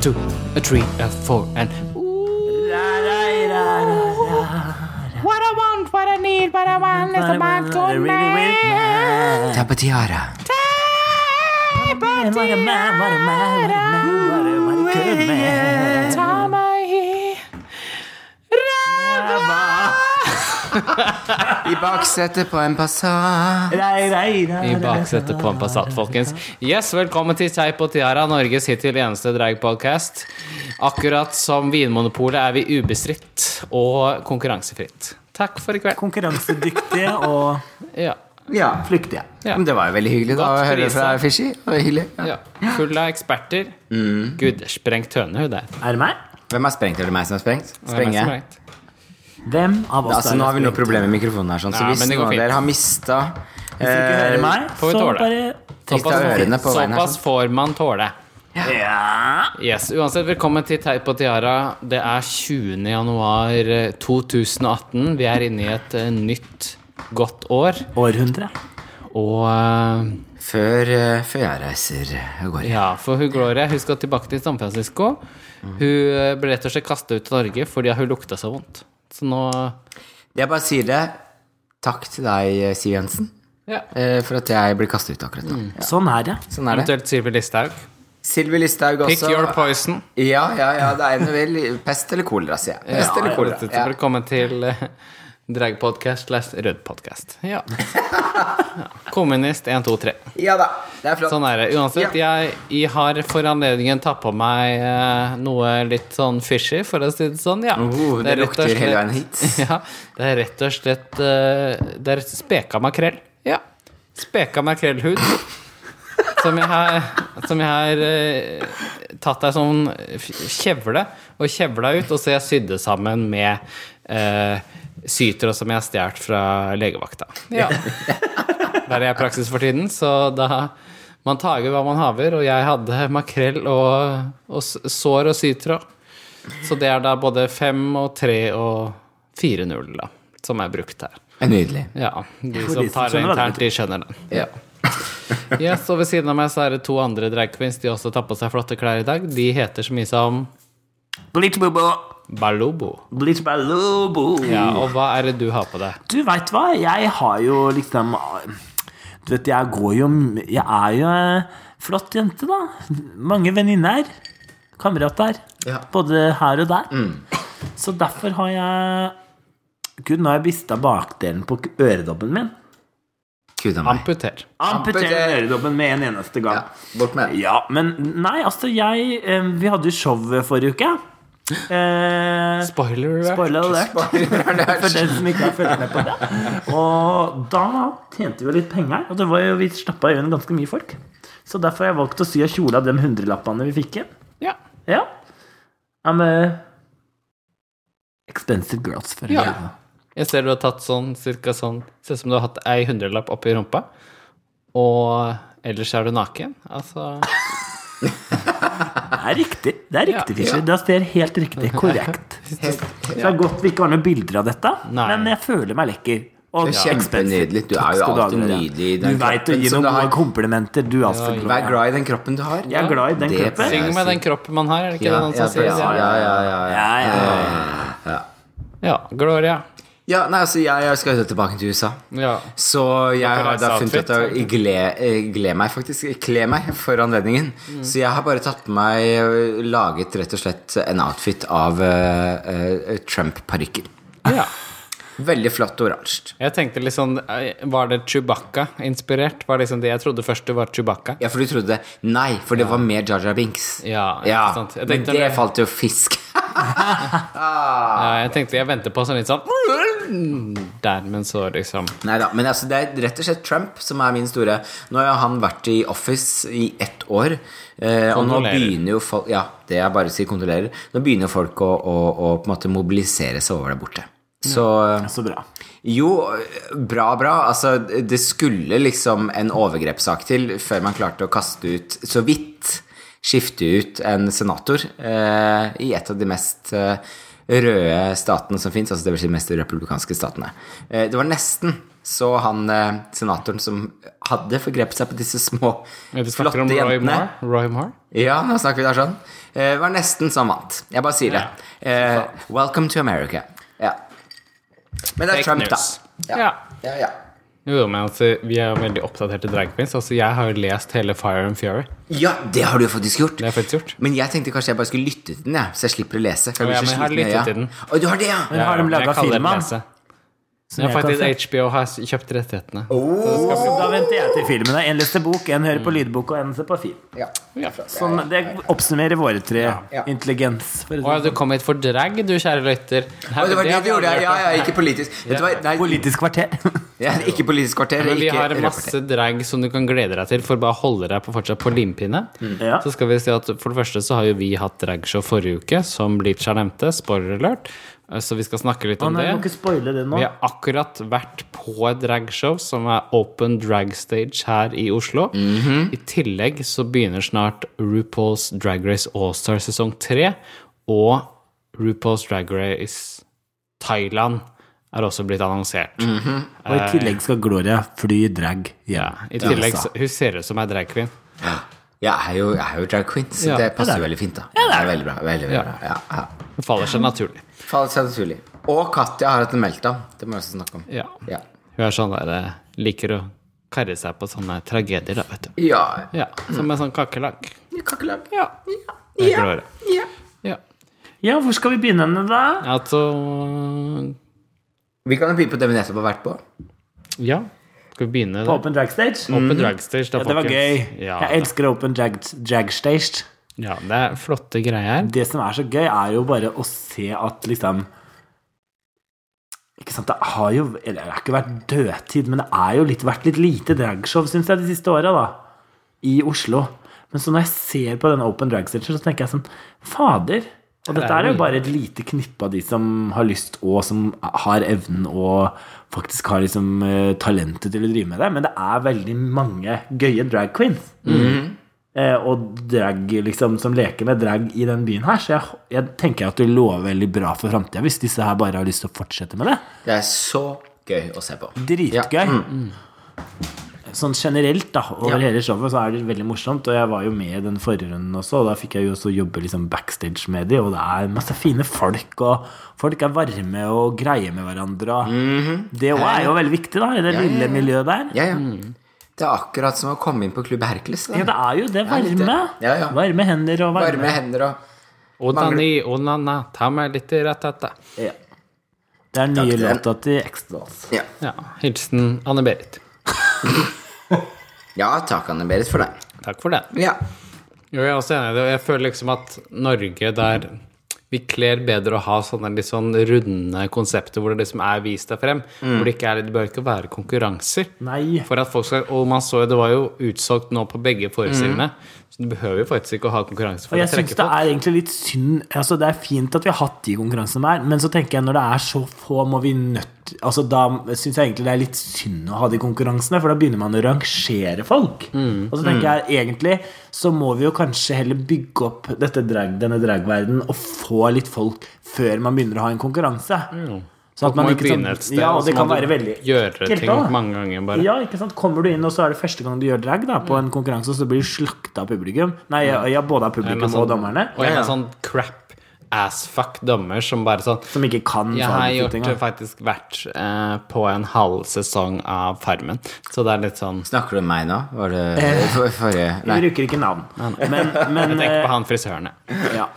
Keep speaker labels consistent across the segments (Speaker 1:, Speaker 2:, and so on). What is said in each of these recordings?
Speaker 1: two, a three, a four, and
Speaker 2: What I want, what I need, what I want is a man called man.
Speaker 1: Tapatiara.
Speaker 2: Ta meg i ræva.
Speaker 1: I baksetet på en Passat.
Speaker 3: I
Speaker 1: I baksetet på en Passat, folkens. Yes, velkommen til Teip og Tiara, Norges hittil eneste dragpodcast. Akkurat som Vinmonopolet er vi ubestridt og konkurransefritt. Takk for i kveld.
Speaker 3: Konkurransedyktige og
Speaker 1: Ja.
Speaker 3: ja, flyktige.
Speaker 1: Ja.
Speaker 4: Men det var jo veldig hyggelig da,
Speaker 1: Godt
Speaker 4: å høre
Speaker 1: priset.
Speaker 4: fra Fishy. Det var hyggelig. Ja. Mm.
Speaker 1: ja. Full av eksperter. Gud, sprengt hønehud der.
Speaker 3: Er det meg?
Speaker 4: Hvem har sprengt? Er det meg som har sprengt?
Speaker 1: Hvem er
Speaker 4: Sprenge?
Speaker 1: sprengt?
Speaker 3: Hvem av oss
Speaker 4: Altså, nå har vi noe problem med mikrofonen her, sånn, så
Speaker 1: Ja,
Speaker 4: hvis
Speaker 1: men det går
Speaker 4: noen av
Speaker 1: fint.
Speaker 4: dere har eh, mista
Speaker 3: Hvis dere ikke hører meg,
Speaker 1: får vi
Speaker 3: så
Speaker 1: tåle.
Speaker 3: bare
Speaker 4: Trist av ørene på veien her.
Speaker 1: Såpass
Speaker 4: Sånn.
Speaker 1: får man tåle.
Speaker 3: Ja.
Speaker 1: Yes, uansett, velkommen til Teip og Tiara. Det er 20. januar eh, 2018. Vi er inne i et eh, nytt, godt år.
Speaker 3: Århundre.
Speaker 1: Og eh,
Speaker 4: Før, eh, før jeg reiser og går.
Speaker 1: ja, for hun Gloria hun skal tilbake til San Francisco.
Speaker 4: Mm.
Speaker 1: Hun eh, ble rett og slett kasta ut av Norge fordi hun lukta så vondt. Så nå
Speaker 4: Jeg bare sier det. Takk til deg, eh, Siv Jensen,
Speaker 1: ja.
Speaker 4: eh, for at jeg blir kastet ut akkurat nå.
Speaker 3: Sånn er det.
Speaker 4: Sånn er det.
Speaker 1: Eventuelt Sylvi Listhaug.
Speaker 4: Sylvi Listhaug
Speaker 1: Pick
Speaker 4: også.
Speaker 1: your poison.
Speaker 4: Ja, ja, ja, det er en vel pest eller kolera, sier jeg. Pest eller kolera.
Speaker 1: Dette-
Speaker 4: Ja.
Speaker 1: Velkommen til eh, dragpodcast slash rødpodcast. Ja. ja. Kommunist 1, 2, 3.
Speaker 4: ja da, det er flott.
Speaker 1: Sånn er det. Uansett, jeg, jeg har for anledningen tatt på meg eh, noe litt sånn fishy, for å si det sånn. Ja.
Speaker 4: Oh, det
Speaker 1: er rett og
Speaker 4: lukter hele
Speaker 1: slett-
Speaker 4: veien hit.
Speaker 1: Ja, det er rett og slett eh, Det er speka makrell. Ja. Speka makrellhud. Som jeg har, som jeg har eh, tatt ei sånn f- kjevle og kjevla ut, og så jeg sydde sammen med uh, sytråd som jeg har stjålet fra legevakta. Ja. Der er jeg i praksis for tiden, så da Man tager hva man haver, og jeg hadde makrell og, og s- sår og sytråd. Så det er da både fem og tre og fire null, da, som er brukt her.
Speaker 4: Nydelig.
Speaker 1: Ja, de
Speaker 3: de
Speaker 1: som tar det
Speaker 3: som skjønner hva det
Speaker 1: internt, de skjønner den. Ja. Yes, og ved siden av meg så er det to andre drag queens. De har også tar på seg flotte klær i dag. De heter så mye som
Speaker 3: Bleachbobo.
Speaker 1: Balobo.
Speaker 3: Bleachbalobo.
Speaker 1: Ja, og hva er det du har på deg?
Speaker 3: Du veit hva, jeg har jo liksom Du vet, jeg går jo Jeg er jo en flott jente, da. Mange venninner. Kamerater.
Speaker 4: Ja. Mm.
Speaker 3: Både her og der. Så derfor har jeg Gud, nå har jeg mista bakdelen på øredobben min.
Speaker 4: Gud a meg.
Speaker 1: Amputer.
Speaker 3: Amputer
Speaker 4: Amputer.
Speaker 3: øredobben med en eneste gang.
Speaker 4: Ja, bort med det.
Speaker 3: Ja, men nei, altså jeg eh, Vi hadde jo show forrige uke. Eh,
Speaker 1: Spoiler alert.
Speaker 3: spoiler alert for den som ikke har fulgt med på det. Og da tjente vi jo litt penger, og det var jo, vi slappa jo inn ganske mye folk. Så derfor har jeg valgt å sy en kjole av de hundrelappene vi fikk inn.
Speaker 1: Ja.
Speaker 3: Ja. I'm a expensive girls. For
Speaker 1: Ja.
Speaker 3: ja.
Speaker 1: Jeg ser du har tatt sånn cirka sånn Ser ut som du har hatt ei hundrelapp oppi rumpa, og ellers er du naken. Altså
Speaker 3: Det er riktig. Det er riktig, Fischer. Det ser helt riktig korrekt. Så det er godt vi ikke har noen bilder av dette,
Speaker 1: Nei.
Speaker 3: men jeg føler meg lekker. Og
Speaker 4: Ja. Kjempenydelig. Du er
Speaker 3: Skal
Speaker 4: jo
Speaker 3: du ha,
Speaker 4: alltid
Speaker 3: Gloria?
Speaker 4: nydelig i
Speaker 3: Du
Speaker 4: den
Speaker 3: veit å
Speaker 4: kroppen
Speaker 3: gi
Speaker 4: som
Speaker 3: noen
Speaker 4: du
Speaker 3: gode
Speaker 4: har.
Speaker 3: komplimenter, du Astrid. Gloria.
Speaker 4: Vær glad i den kroppen du har.
Speaker 3: Jeg er glad i den
Speaker 4: Det
Speaker 3: kroppen.
Speaker 4: pleier
Speaker 1: Syng med den kroppen man har, er det ikke
Speaker 4: Ja,
Speaker 1: det noen som sier?
Speaker 4: ja, ja, ja, ja,
Speaker 3: Ja,
Speaker 4: ja.
Speaker 3: ja, ja.
Speaker 1: Ja, Gloria.
Speaker 4: Ja, nei, altså, jeg jeg skal jo tilbake til USA.
Speaker 1: Ja.
Speaker 4: Så jeg har da
Speaker 1: reise
Speaker 4: funnet ut å
Speaker 1: outfit.
Speaker 4: gle, eh, gle meg, faktisk. Kle meg for anledningen.
Speaker 1: Mm.
Speaker 4: Så jeg har bare tatt på meg eh, Laget rett og slett en outfit av eh, eh, Trump-parykker.
Speaker 1: ja.
Speaker 4: Veldig flott oransje.
Speaker 1: Jeg tenkte litt sånn eh, Var det Chewbacca-inspirert? Var det liksom det jeg trodde først det var Chewbacca?
Speaker 4: Ja, for du trodde Nei, for det var mer Jar Jar Binks.
Speaker 1: Ja, ikke sant. Jeg
Speaker 4: Men
Speaker 1: tenkte-
Speaker 4: det falt jo fisk.
Speaker 1: Ja, jeg tenkte jeg venter på sånn litt sånn mm, Der, men så liksom
Speaker 4: Nei da, men altså, det er rett og slett Trump som er min store Nå har han vært i office i ett år. Eh, og nå
Speaker 1: Kondolerer.
Speaker 4: begynner jo folk Ja, det jeg bare sier, kondolerer. Nå begynner jo folk å, å, å på en måte mobilisere seg over der borte. Så eh,
Speaker 3: Så bra.
Speaker 4: jo, bra, bra. Altså, det skulle liksom en overgrepssak til før man klarte å kaste ut, så vidt, skifte ut en senator eh, i et av de mest eh, røde statene som fins, altså det vil si mest republikanske statene. Eh, Det var nesten så han eh, senatoren som hadde forgrepet seg på disse små,
Speaker 1: Vi snakker
Speaker 4: flotte
Speaker 1: om Roy
Speaker 4: jentene
Speaker 1: Moore. Roy Moore.
Speaker 4: Ja, nå snakker vi da sånn. Eh, var nesten som vant. Jeg bare sier det. Eh, welcome to America. Ja. Men det er
Speaker 1: Fake
Speaker 4: Trump,
Speaker 1: news.
Speaker 4: da.
Speaker 1: Ja.
Speaker 4: ja, ja.
Speaker 1: Jo, men altså, vi er jo veldig oppdaterte drag queens. Altså, jeg har jo lest hele Fire and Fury.
Speaker 4: Ja, det har du jo faktisk gjort.
Speaker 1: Det har jeg faktisk gjort.
Speaker 4: Men jeg tenkte kanskje jeg bare skulle lytte til den, jeg, så jeg slipper å lese. For
Speaker 1: Ja,
Speaker 4: jeg blir
Speaker 1: men
Speaker 4: så
Speaker 1: jeg har
Speaker 4: sliten i
Speaker 1: lyttet
Speaker 4: øya.
Speaker 1: til den.
Speaker 4: Å, du har det, ja?
Speaker 3: Men har de
Speaker 1: Jeg
Speaker 3: laga
Speaker 1: kaller det
Speaker 3: filmen?
Speaker 1: lese.
Speaker 3: Som
Speaker 1: Ja,
Speaker 3: jeg kan se?
Speaker 1: faktisk HBO har kjøpt rettighetene.
Speaker 4: Oh.
Speaker 3: Da venter jeg til filmen. er En leser bok, en hører på lydbok, og en ser på film.
Speaker 4: Ja.
Speaker 1: Ja.
Speaker 3: Sånn, det oppsummerer våre tre
Speaker 4: Ja.
Speaker 3: intelligens. For å si
Speaker 1: Å
Speaker 3: det
Speaker 1: ja, du kom hit for drag, du kjære lytter.
Speaker 4: Å, det var det
Speaker 1: har
Speaker 4: du
Speaker 1: vi
Speaker 4: gjorde,
Speaker 1: aldri
Speaker 4: ja.
Speaker 1: hørt
Speaker 4: ja,
Speaker 1: om.
Speaker 4: ja ikke politisk. Vet du hva? Nei,
Speaker 3: sånn. Politisk kvarter.
Speaker 4: ja, ikke politisk kvarter.
Speaker 1: Men vi
Speaker 4: ikke
Speaker 1: har
Speaker 4: reporter.
Speaker 1: masse drag som du kan glede deg til, for bare holde deg på fortsatt på limpinne.
Speaker 4: Mm.
Speaker 3: Ja.
Speaker 1: Så skal vi si at For det første så har jo vi hatt dragshow forrige uke, som Bleacher nevnte. Spoiler alert. Eh, Så vi skal snakke litt
Speaker 3: Å
Speaker 1: om
Speaker 3: nei, jeg må
Speaker 1: sånn det.
Speaker 3: ikke spoile det nå.
Speaker 1: Vi har akkurat vært på et dragshow som er Open Drag Stage her i Oslo. I tillegg så begynner snart RuPaul's Drag Race Allstar sesong 3. Og RuPaul's Drag Race Thailand er også blitt annonsert.
Speaker 3: Og i tillegg skal Gloria fly drag hjem.
Speaker 1: I tillegg,
Speaker 3: så
Speaker 1: så- Hun ser ut som ei drag queen.
Speaker 4: Ja, jeg er jo, jeg er jo drag queen, så
Speaker 1: Ja.
Speaker 4: det passer jo veldig fint, da. Ja, det er veldig bra. Veldig, veldig
Speaker 1: Ja.
Speaker 4: bra. Ja, ja.
Speaker 1: Hun faller seg naturlig.
Speaker 4: Faller seg naturlig. Og Katja har hatt en meltdown. Det må vi også snakke om.
Speaker 1: Ja.
Speaker 4: Ja.
Speaker 1: Hun er sånn der, eh, liker å karre seg på sånne tragedier, da, vet du.
Speaker 4: ja.
Speaker 1: Ja, Som en sånn kakerlakk.
Speaker 4: Kakerlakk.
Speaker 1: Ja. Det
Speaker 4: Ja.
Speaker 1: klarer jeg.
Speaker 4: Ja.
Speaker 1: ja.
Speaker 3: Ja, hvor skal vi begynne henne, da?
Speaker 1: Altså
Speaker 4: Vi kan jo begynne på det vi nettopp har vært på.
Speaker 1: Ja. Skal vi begynne?
Speaker 3: På
Speaker 1: da?
Speaker 3: Open Drag Stage?
Speaker 1: Open dragstage, da,
Speaker 3: Ja, det var
Speaker 1: folkens.
Speaker 3: gøy.
Speaker 1: Ja,
Speaker 3: Jeg elsker Open drag, drag Stage.
Speaker 1: ja, det er flotte greier.
Speaker 3: Det som er så gøy, er jo bare å se at liksom Ikke sant, det har jo Eller det har ikke vært dødtid, men det er jo litt, vært litt lite dragshow, syns jeg, de siste åra, da. I Oslo. Men så når jeg ser på den Open Drag Stage, så tenker jeg sånn Fader! Og dette er jo bare et lite knippe av de som har lyst, og som har evnen og faktisk har liksom eh, talentet til å drive med det. Men det er veldig mange gøye drag queens. Eh, og drag liksom, som leker med drag i den byen her. Så jeg, jeg tenker at det lover veldig bra for framtida hvis disse her bare har lyst til å fortsette med det.
Speaker 4: Det er så gøy å se på.
Speaker 3: Dritgøy.
Speaker 4: Ja, mm.
Speaker 3: Sånn generelt, da, over
Speaker 4: Ja.
Speaker 3: hele showet, så er det veldig morsomt. Og jeg var jo med i den forrige runden også, og da fikk jeg jo også jobbe liksom backstage med de, og det er masse fine folk, og folk er varme og greie med hverandre, og
Speaker 4: Mhm.
Speaker 3: det òg er jo veldig viktig, da, i det lille miljøet der.
Speaker 4: Ja, ja.
Speaker 1: Mm.
Speaker 4: Det er akkurat som å komme inn på Klubb Hercules. da.
Speaker 3: Ja, det er jo det.
Speaker 4: litt det.
Speaker 3: Varme.
Speaker 4: Ja, ja.
Speaker 3: Varme hender og varme,
Speaker 4: Varme hender og
Speaker 1: Onani, onana, ta meg litt i ratata.
Speaker 3: Ja. Det er nye
Speaker 4: til dere.
Speaker 3: låta til Extras.
Speaker 4: Ja,
Speaker 1: Ja, hilsen Anne-Berit.
Speaker 4: ja takk, Anne-Berit, for det.
Speaker 1: Takk for det.
Speaker 4: Ja.
Speaker 1: Jo, jeg er også enig i det, og jeg føler liksom at Norge der vi kler bedre å ha sånne litt sånn runde konsepter hvor det liksom er vist deg frem.
Speaker 3: Mm.
Speaker 1: Hvor det ikke er, det bør ikke være konkurranser.
Speaker 3: Nei.
Speaker 1: For at folk skal, og man så jo, det var jo utsolgt nå på begge forestillingene. Så du behøver jo faktisk ikke å ha konkurranse
Speaker 3: Mm. Og
Speaker 1: for å
Speaker 3: jeg syns
Speaker 1: trekke
Speaker 3: det
Speaker 1: folk.
Speaker 3: er egentlig litt synd altså Det er fint at vi har hatt de konkurransene der, men så tenker jeg når det er så få, må vi nødt altså Da syns jeg egentlig det er litt synd å ha de konkurransene, for da begynner man å rangere folk.
Speaker 1: Mm.
Speaker 3: Og så tenker jeg egentlig så må vi jo kanskje heller bygge opp dette drag, denne dragverden og få litt folk før man begynner å ha en konkurranse. Så at
Speaker 1: Mm. Man
Speaker 3: man
Speaker 1: må jo
Speaker 3: ikke sånn,
Speaker 1: begynne et sted,
Speaker 3: ja,
Speaker 1: og
Speaker 3: og det
Speaker 1: så
Speaker 3: kan
Speaker 1: må
Speaker 3: være
Speaker 1: du
Speaker 3: veldig
Speaker 1: gjøre
Speaker 3: ekkelt
Speaker 1: ting
Speaker 3: da.
Speaker 1: mange ganger bare. Mm.
Speaker 3: Ja, ikke sant? Kommer du inn, og så er det første gang du gjør drag da, på en konkurranse, og så blir du slakta av publikum. Nei, ja, ja, både av
Speaker 1: En
Speaker 3: publikum
Speaker 1: sånn-
Speaker 3: og dommerne.
Speaker 1: Og en
Speaker 4: Ja, ja.
Speaker 1: sånn crap assfuck dommer som bare sånn
Speaker 3: Som ikke kan
Speaker 1: Jeg har
Speaker 3: faget sitt
Speaker 1: gjort
Speaker 3: engang.
Speaker 1: faktisk vært eh, på en halv sesong av Farmen, så det er litt sånn
Speaker 4: Snakker du om meg nå? Var det
Speaker 1: Eh.
Speaker 4: for, forrige
Speaker 3: Vi
Speaker 4: Nei.
Speaker 3: bruker ikke navn. Men, men,
Speaker 1: Jeg tenker
Speaker 3: eh,
Speaker 1: på han frisøren, jeg.
Speaker 3: ja.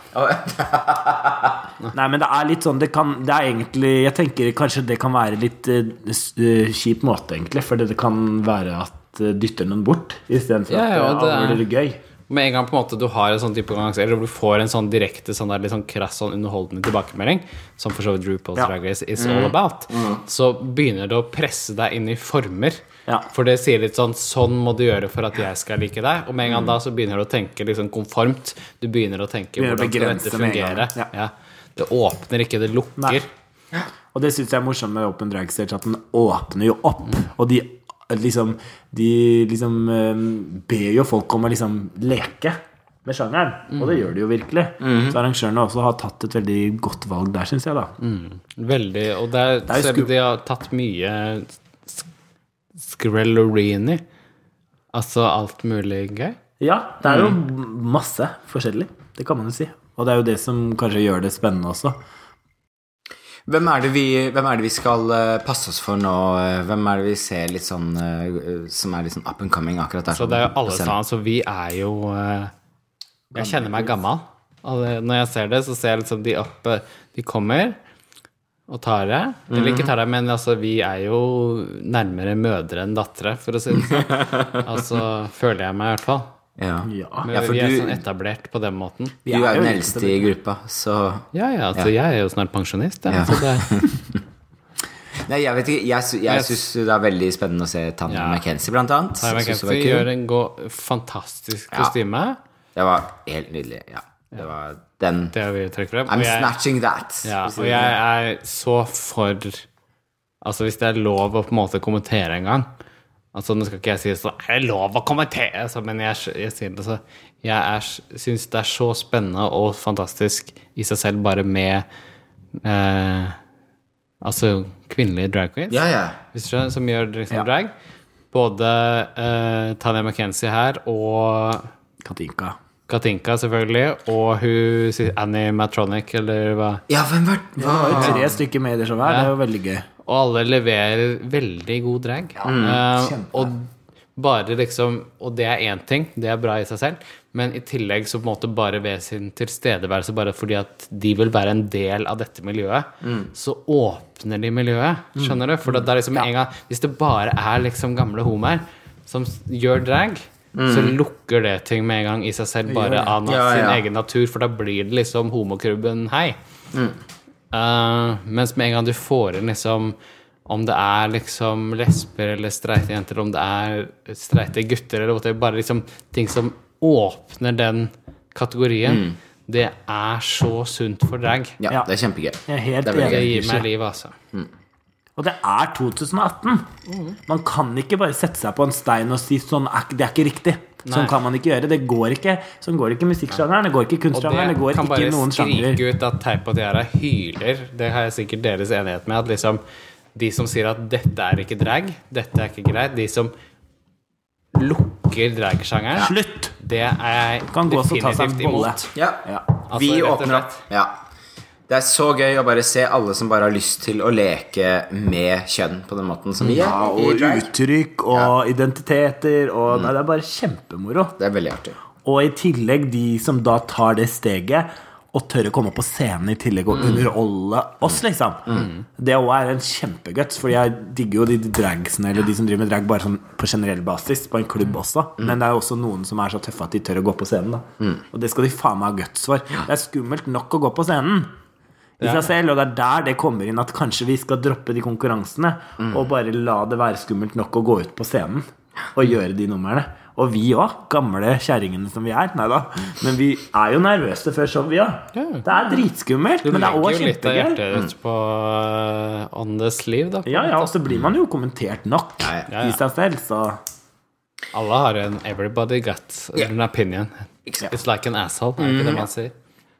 Speaker 3: Nei, men det er litt sånn det kan, det er egentlig, Jeg tenker kanskje det kan være litt eh, s- eh, kjip måte, egentlig. For det kan være at eh, dytter noen bort, istedenfor
Speaker 1: Ja,
Speaker 3: at eh,
Speaker 1: ja,
Speaker 3: det er
Speaker 1: det
Speaker 3: veldig gøy.
Speaker 1: Med en gang på en måte du har en sånn type konkurranse, eller du får en sånn direkte sånn der, litt sånn krass sånn underholdende tilbakemelding, som for så vidt RuPaul's
Speaker 3: Ja. Mm.
Speaker 1: Drag Race is all about, så begynner det å presse deg inn i former.
Speaker 3: Ja.
Speaker 1: For det sier litt sånn Sånn må du gjøre for at jeg skal like deg. Og med
Speaker 3: Mm.
Speaker 1: en gang da så begynner du å tenke liksom konformt. Du begynner å tenke
Speaker 3: Begynner
Speaker 1: hvordan
Speaker 3: å
Speaker 1: skal dette
Speaker 3: begrense med en gang.
Speaker 1: fungere.
Speaker 3: Ja.
Speaker 1: Ja. Det åpner ikke, det lukker.
Speaker 3: Nei. Og det syns jeg er morsomt med Open Drag Stage, at den åpner jo opp. Og de liksom De liksom eh, ber jo folk om å liksom leke. med sjangeren. Og det gjør det jo virkelig. Så arrangørene også har tatt et veldig godt valg der, syns jeg, da.
Speaker 1: Veldig. Og det er,
Speaker 3: er jo
Speaker 1: selv om
Speaker 3: sku-
Speaker 1: de har tatt mye sk- Skrellorini, altså alt mulig gøy
Speaker 3: Ja, det er jo masse forskjellig. Det kan man jo si. Og det er jo det som kanskje gjør det spennende også.
Speaker 4: Hvem er, det vi, hvem er det vi skal eh, passe oss for nå? eh, Hvem er det vi ser litt sånn eh, som er litt sånn up and coming akkurat der?
Speaker 1: Så det er jo alle
Speaker 4: Sånn, på scenen?
Speaker 1: sammen, så vi er jo eh, Jeg kjenner meg gammel. Og det, når jeg ser det, så ser jeg liksom de opp eh, De kommer og tar det. Eller
Speaker 4: Mhm.
Speaker 1: ikke tar det, men altså, vi er jo nærmere mødre enn dattere, for å si det sånn. Altså føler jeg meg i hvert fall.
Speaker 4: Ja.
Speaker 3: Ja.
Speaker 1: Men
Speaker 4: Ja, for
Speaker 1: vi er
Speaker 4: du-
Speaker 1: sånn etablert på den måten.
Speaker 4: Du er jo den
Speaker 3: litt
Speaker 4: eldste i gruppa, så
Speaker 1: Ja, ja, altså jeg er jo snart pensjonist, jeg.
Speaker 4: Ja.
Speaker 1: Så det,
Speaker 4: Nei, jeg vet ikke. Jeg, sy- jeg
Speaker 1: Yes.
Speaker 4: syns det er veldig spennende å se Tanja
Speaker 1: Ja.
Speaker 4: McKenzie, blant annet.
Speaker 1: Tara
Speaker 4: Jeg synes det
Speaker 1: McKenzie
Speaker 4: var kul.
Speaker 1: gjør en gå- fantastisk
Speaker 4: Ja.
Speaker 1: kostyme.
Speaker 4: Det var helt nydelig. Ja. Det var den
Speaker 1: Det vil jeg trekke frem.
Speaker 4: I'm
Speaker 1: Og jeg-
Speaker 4: snatching that.
Speaker 1: Ja,
Speaker 4: for å si
Speaker 1: og
Speaker 4: det
Speaker 1: jeg
Speaker 4: sånn.
Speaker 1: er så for Altså, hvis det er lov å på en måte kommentere en gang Altså, nå skal ikke jeg si sånn Er det lov å kommentere? Altså, men jeg, jeg sier det så Jeg er, synes det er så spennende og fantastisk i seg selv, bare med eh, Altså kvinnelige drag queens
Speaker 4: ja, ja.
Speaker 1: hvis du skjønner, som gjør liksom drag. Både eh, Tanya McKenzie her og
Speaker 3: Katinka.
Speaker 1: Katinka, selvfølgelig, og hun si- Annie Matronic, eller hva
Speaker 4: ja, hvem var hva?
Speaker 3: Det var jo tre stykker med i det showet her. Det er jo veldig gøy.
Speaker 1: Og alle leverer veldig god drag.
Speaker 4: mm.
Speaker 1: Eh, og bare liksom Og det er én ting, det er bra i seg selv, men i tillegg så på en måte bare ved sin tilstedeværelse, bare fordi at de vil være en del av dette miljøet,
Speaker 4: Mm.
Speaker 1: så åpner de miljøet. Skjønner du? For det er liksom en gang Hvis det bare er liksom gamle homer som s- gjør drag, så
Speaker 4: Mm.
Speaker 1: lukker det ting med en gang i seg selv, bare av na-
Speaker 4: Ja,
Speaker 1: sin
Speaker 4: ja.
Speaker 1: egen natur, for da blir det liksom homokrubben hei. Eh, mens med en gang du får inn liksom Om det er liksom lesber eller streite jenter, eller om det er streite gutter eller whatever, bare liksom ting som åpner den kategorien, det er så sunt for drag.
Speaker 4: Ja,
Speaker 3: Ja.
Speaker 4: Mm. det er kjempegøy.
Speaker 3: Jeg er helt
Speaker 4: Det er veldig
Speaker 1: Det
Speaker 3: enig.
Speaker 1: gir meg liv, altså.
Speaker 3: Og det er 2018. Man kan ikke bare sette seg på en stein og si sånn er, ikke- Det er ikke riktig. Sånn
Speaker 1: Nei.
Speaker 3: kan man ikke gjøre. Det går ikke. Sånn går ikke musikksjangeren. Det går ikke
Speaker 1: Og
Speaker 3: kunstsjangeren. Det
Speaker 1: det
Speaker 3: går
Speaker 1: kan bare
Speaker 3: ikke noen sjanger.
Speaker 1: skrike ut at Teip og Tiara hyler. Det har jeg sikkert deres enighet med. At liksom de som sier at 'dette er ikke drag', 'dette er ikke greit', de som lukker dragsjangeren,
Speaker 3: Slutt!
Speaker 1: det er jeg
Speaker 3: Kan gå og ta seg en
Speaker 1: definitivt
Speaker 3: bolle.
Speaker 1: imot.
Speaker 4: Ja.
Speaker 3: Ja.
Speaker 4: Vi
Speaker 1: rett og
Speaker 4: åpner opp.
Speaker 1: slett.
Speaker 4: Ja. Det er så gøy å bare se alle som bare har lyst til å leke med kjønn på den måten som vi
Speaker 3: Ja,
Speaker 4: gjør i
Speaker 3: og
Speaker 4: drag.
Speaker 3: uttrykk og identiteter og Nei, det er bare kjempemoro.
Speaker 4: Det er veldig artig.
Speaker 3: Og i tillegg de som da tar det steget og tør å komme på scenen i tillegg og underholde oss, liksom. Det òg er en kjempeguts, Fordi jeg digger jo de dragsene eller de som driver med drag bare sånn på generell basis, på en klubb også. Men det er jo også noen som er så tøffe at de tør å gå på scenen, da. Og det skal de faen meg ha guts for. Det er skummelt nok å gå på scenen. I seg selv, og det er der det kommer inn at kanskje vi skal droppe de konkurransene
Speaker 1: Mm.
Speaker 3: og bare la det være skummelt nok å gå ut på scenen og gjøre de numrene. Og vi òg, gamle kjerringene som vi er. Nei da. Men vi er jo nervøse før show, vi òg. Det er dritskummelt,
Speaker 1: Du
Speaker 3: men det er
Speaker 1: legger
Speaker 3: òg
Speaker 1: jo litt av
Speaker 3: kjempegøy.
Speaker 1: hjertet ditt på eh, on the sleeve, da. på
Speaker 3: Ja,
Speaker 1: en
Speaker 3: ja,
Speaker 1: måte.
Speaker 3: og så blir man jo kommentert nok
Speaker 1: ja.
Speaker 3: i seg selv, så
Speaker 1: Alle har en 'everybody got an opinion'.
Speaker 4: Ikke sant? Mm.
Speaker 1: It's like an asshole, er det ikke det man sier?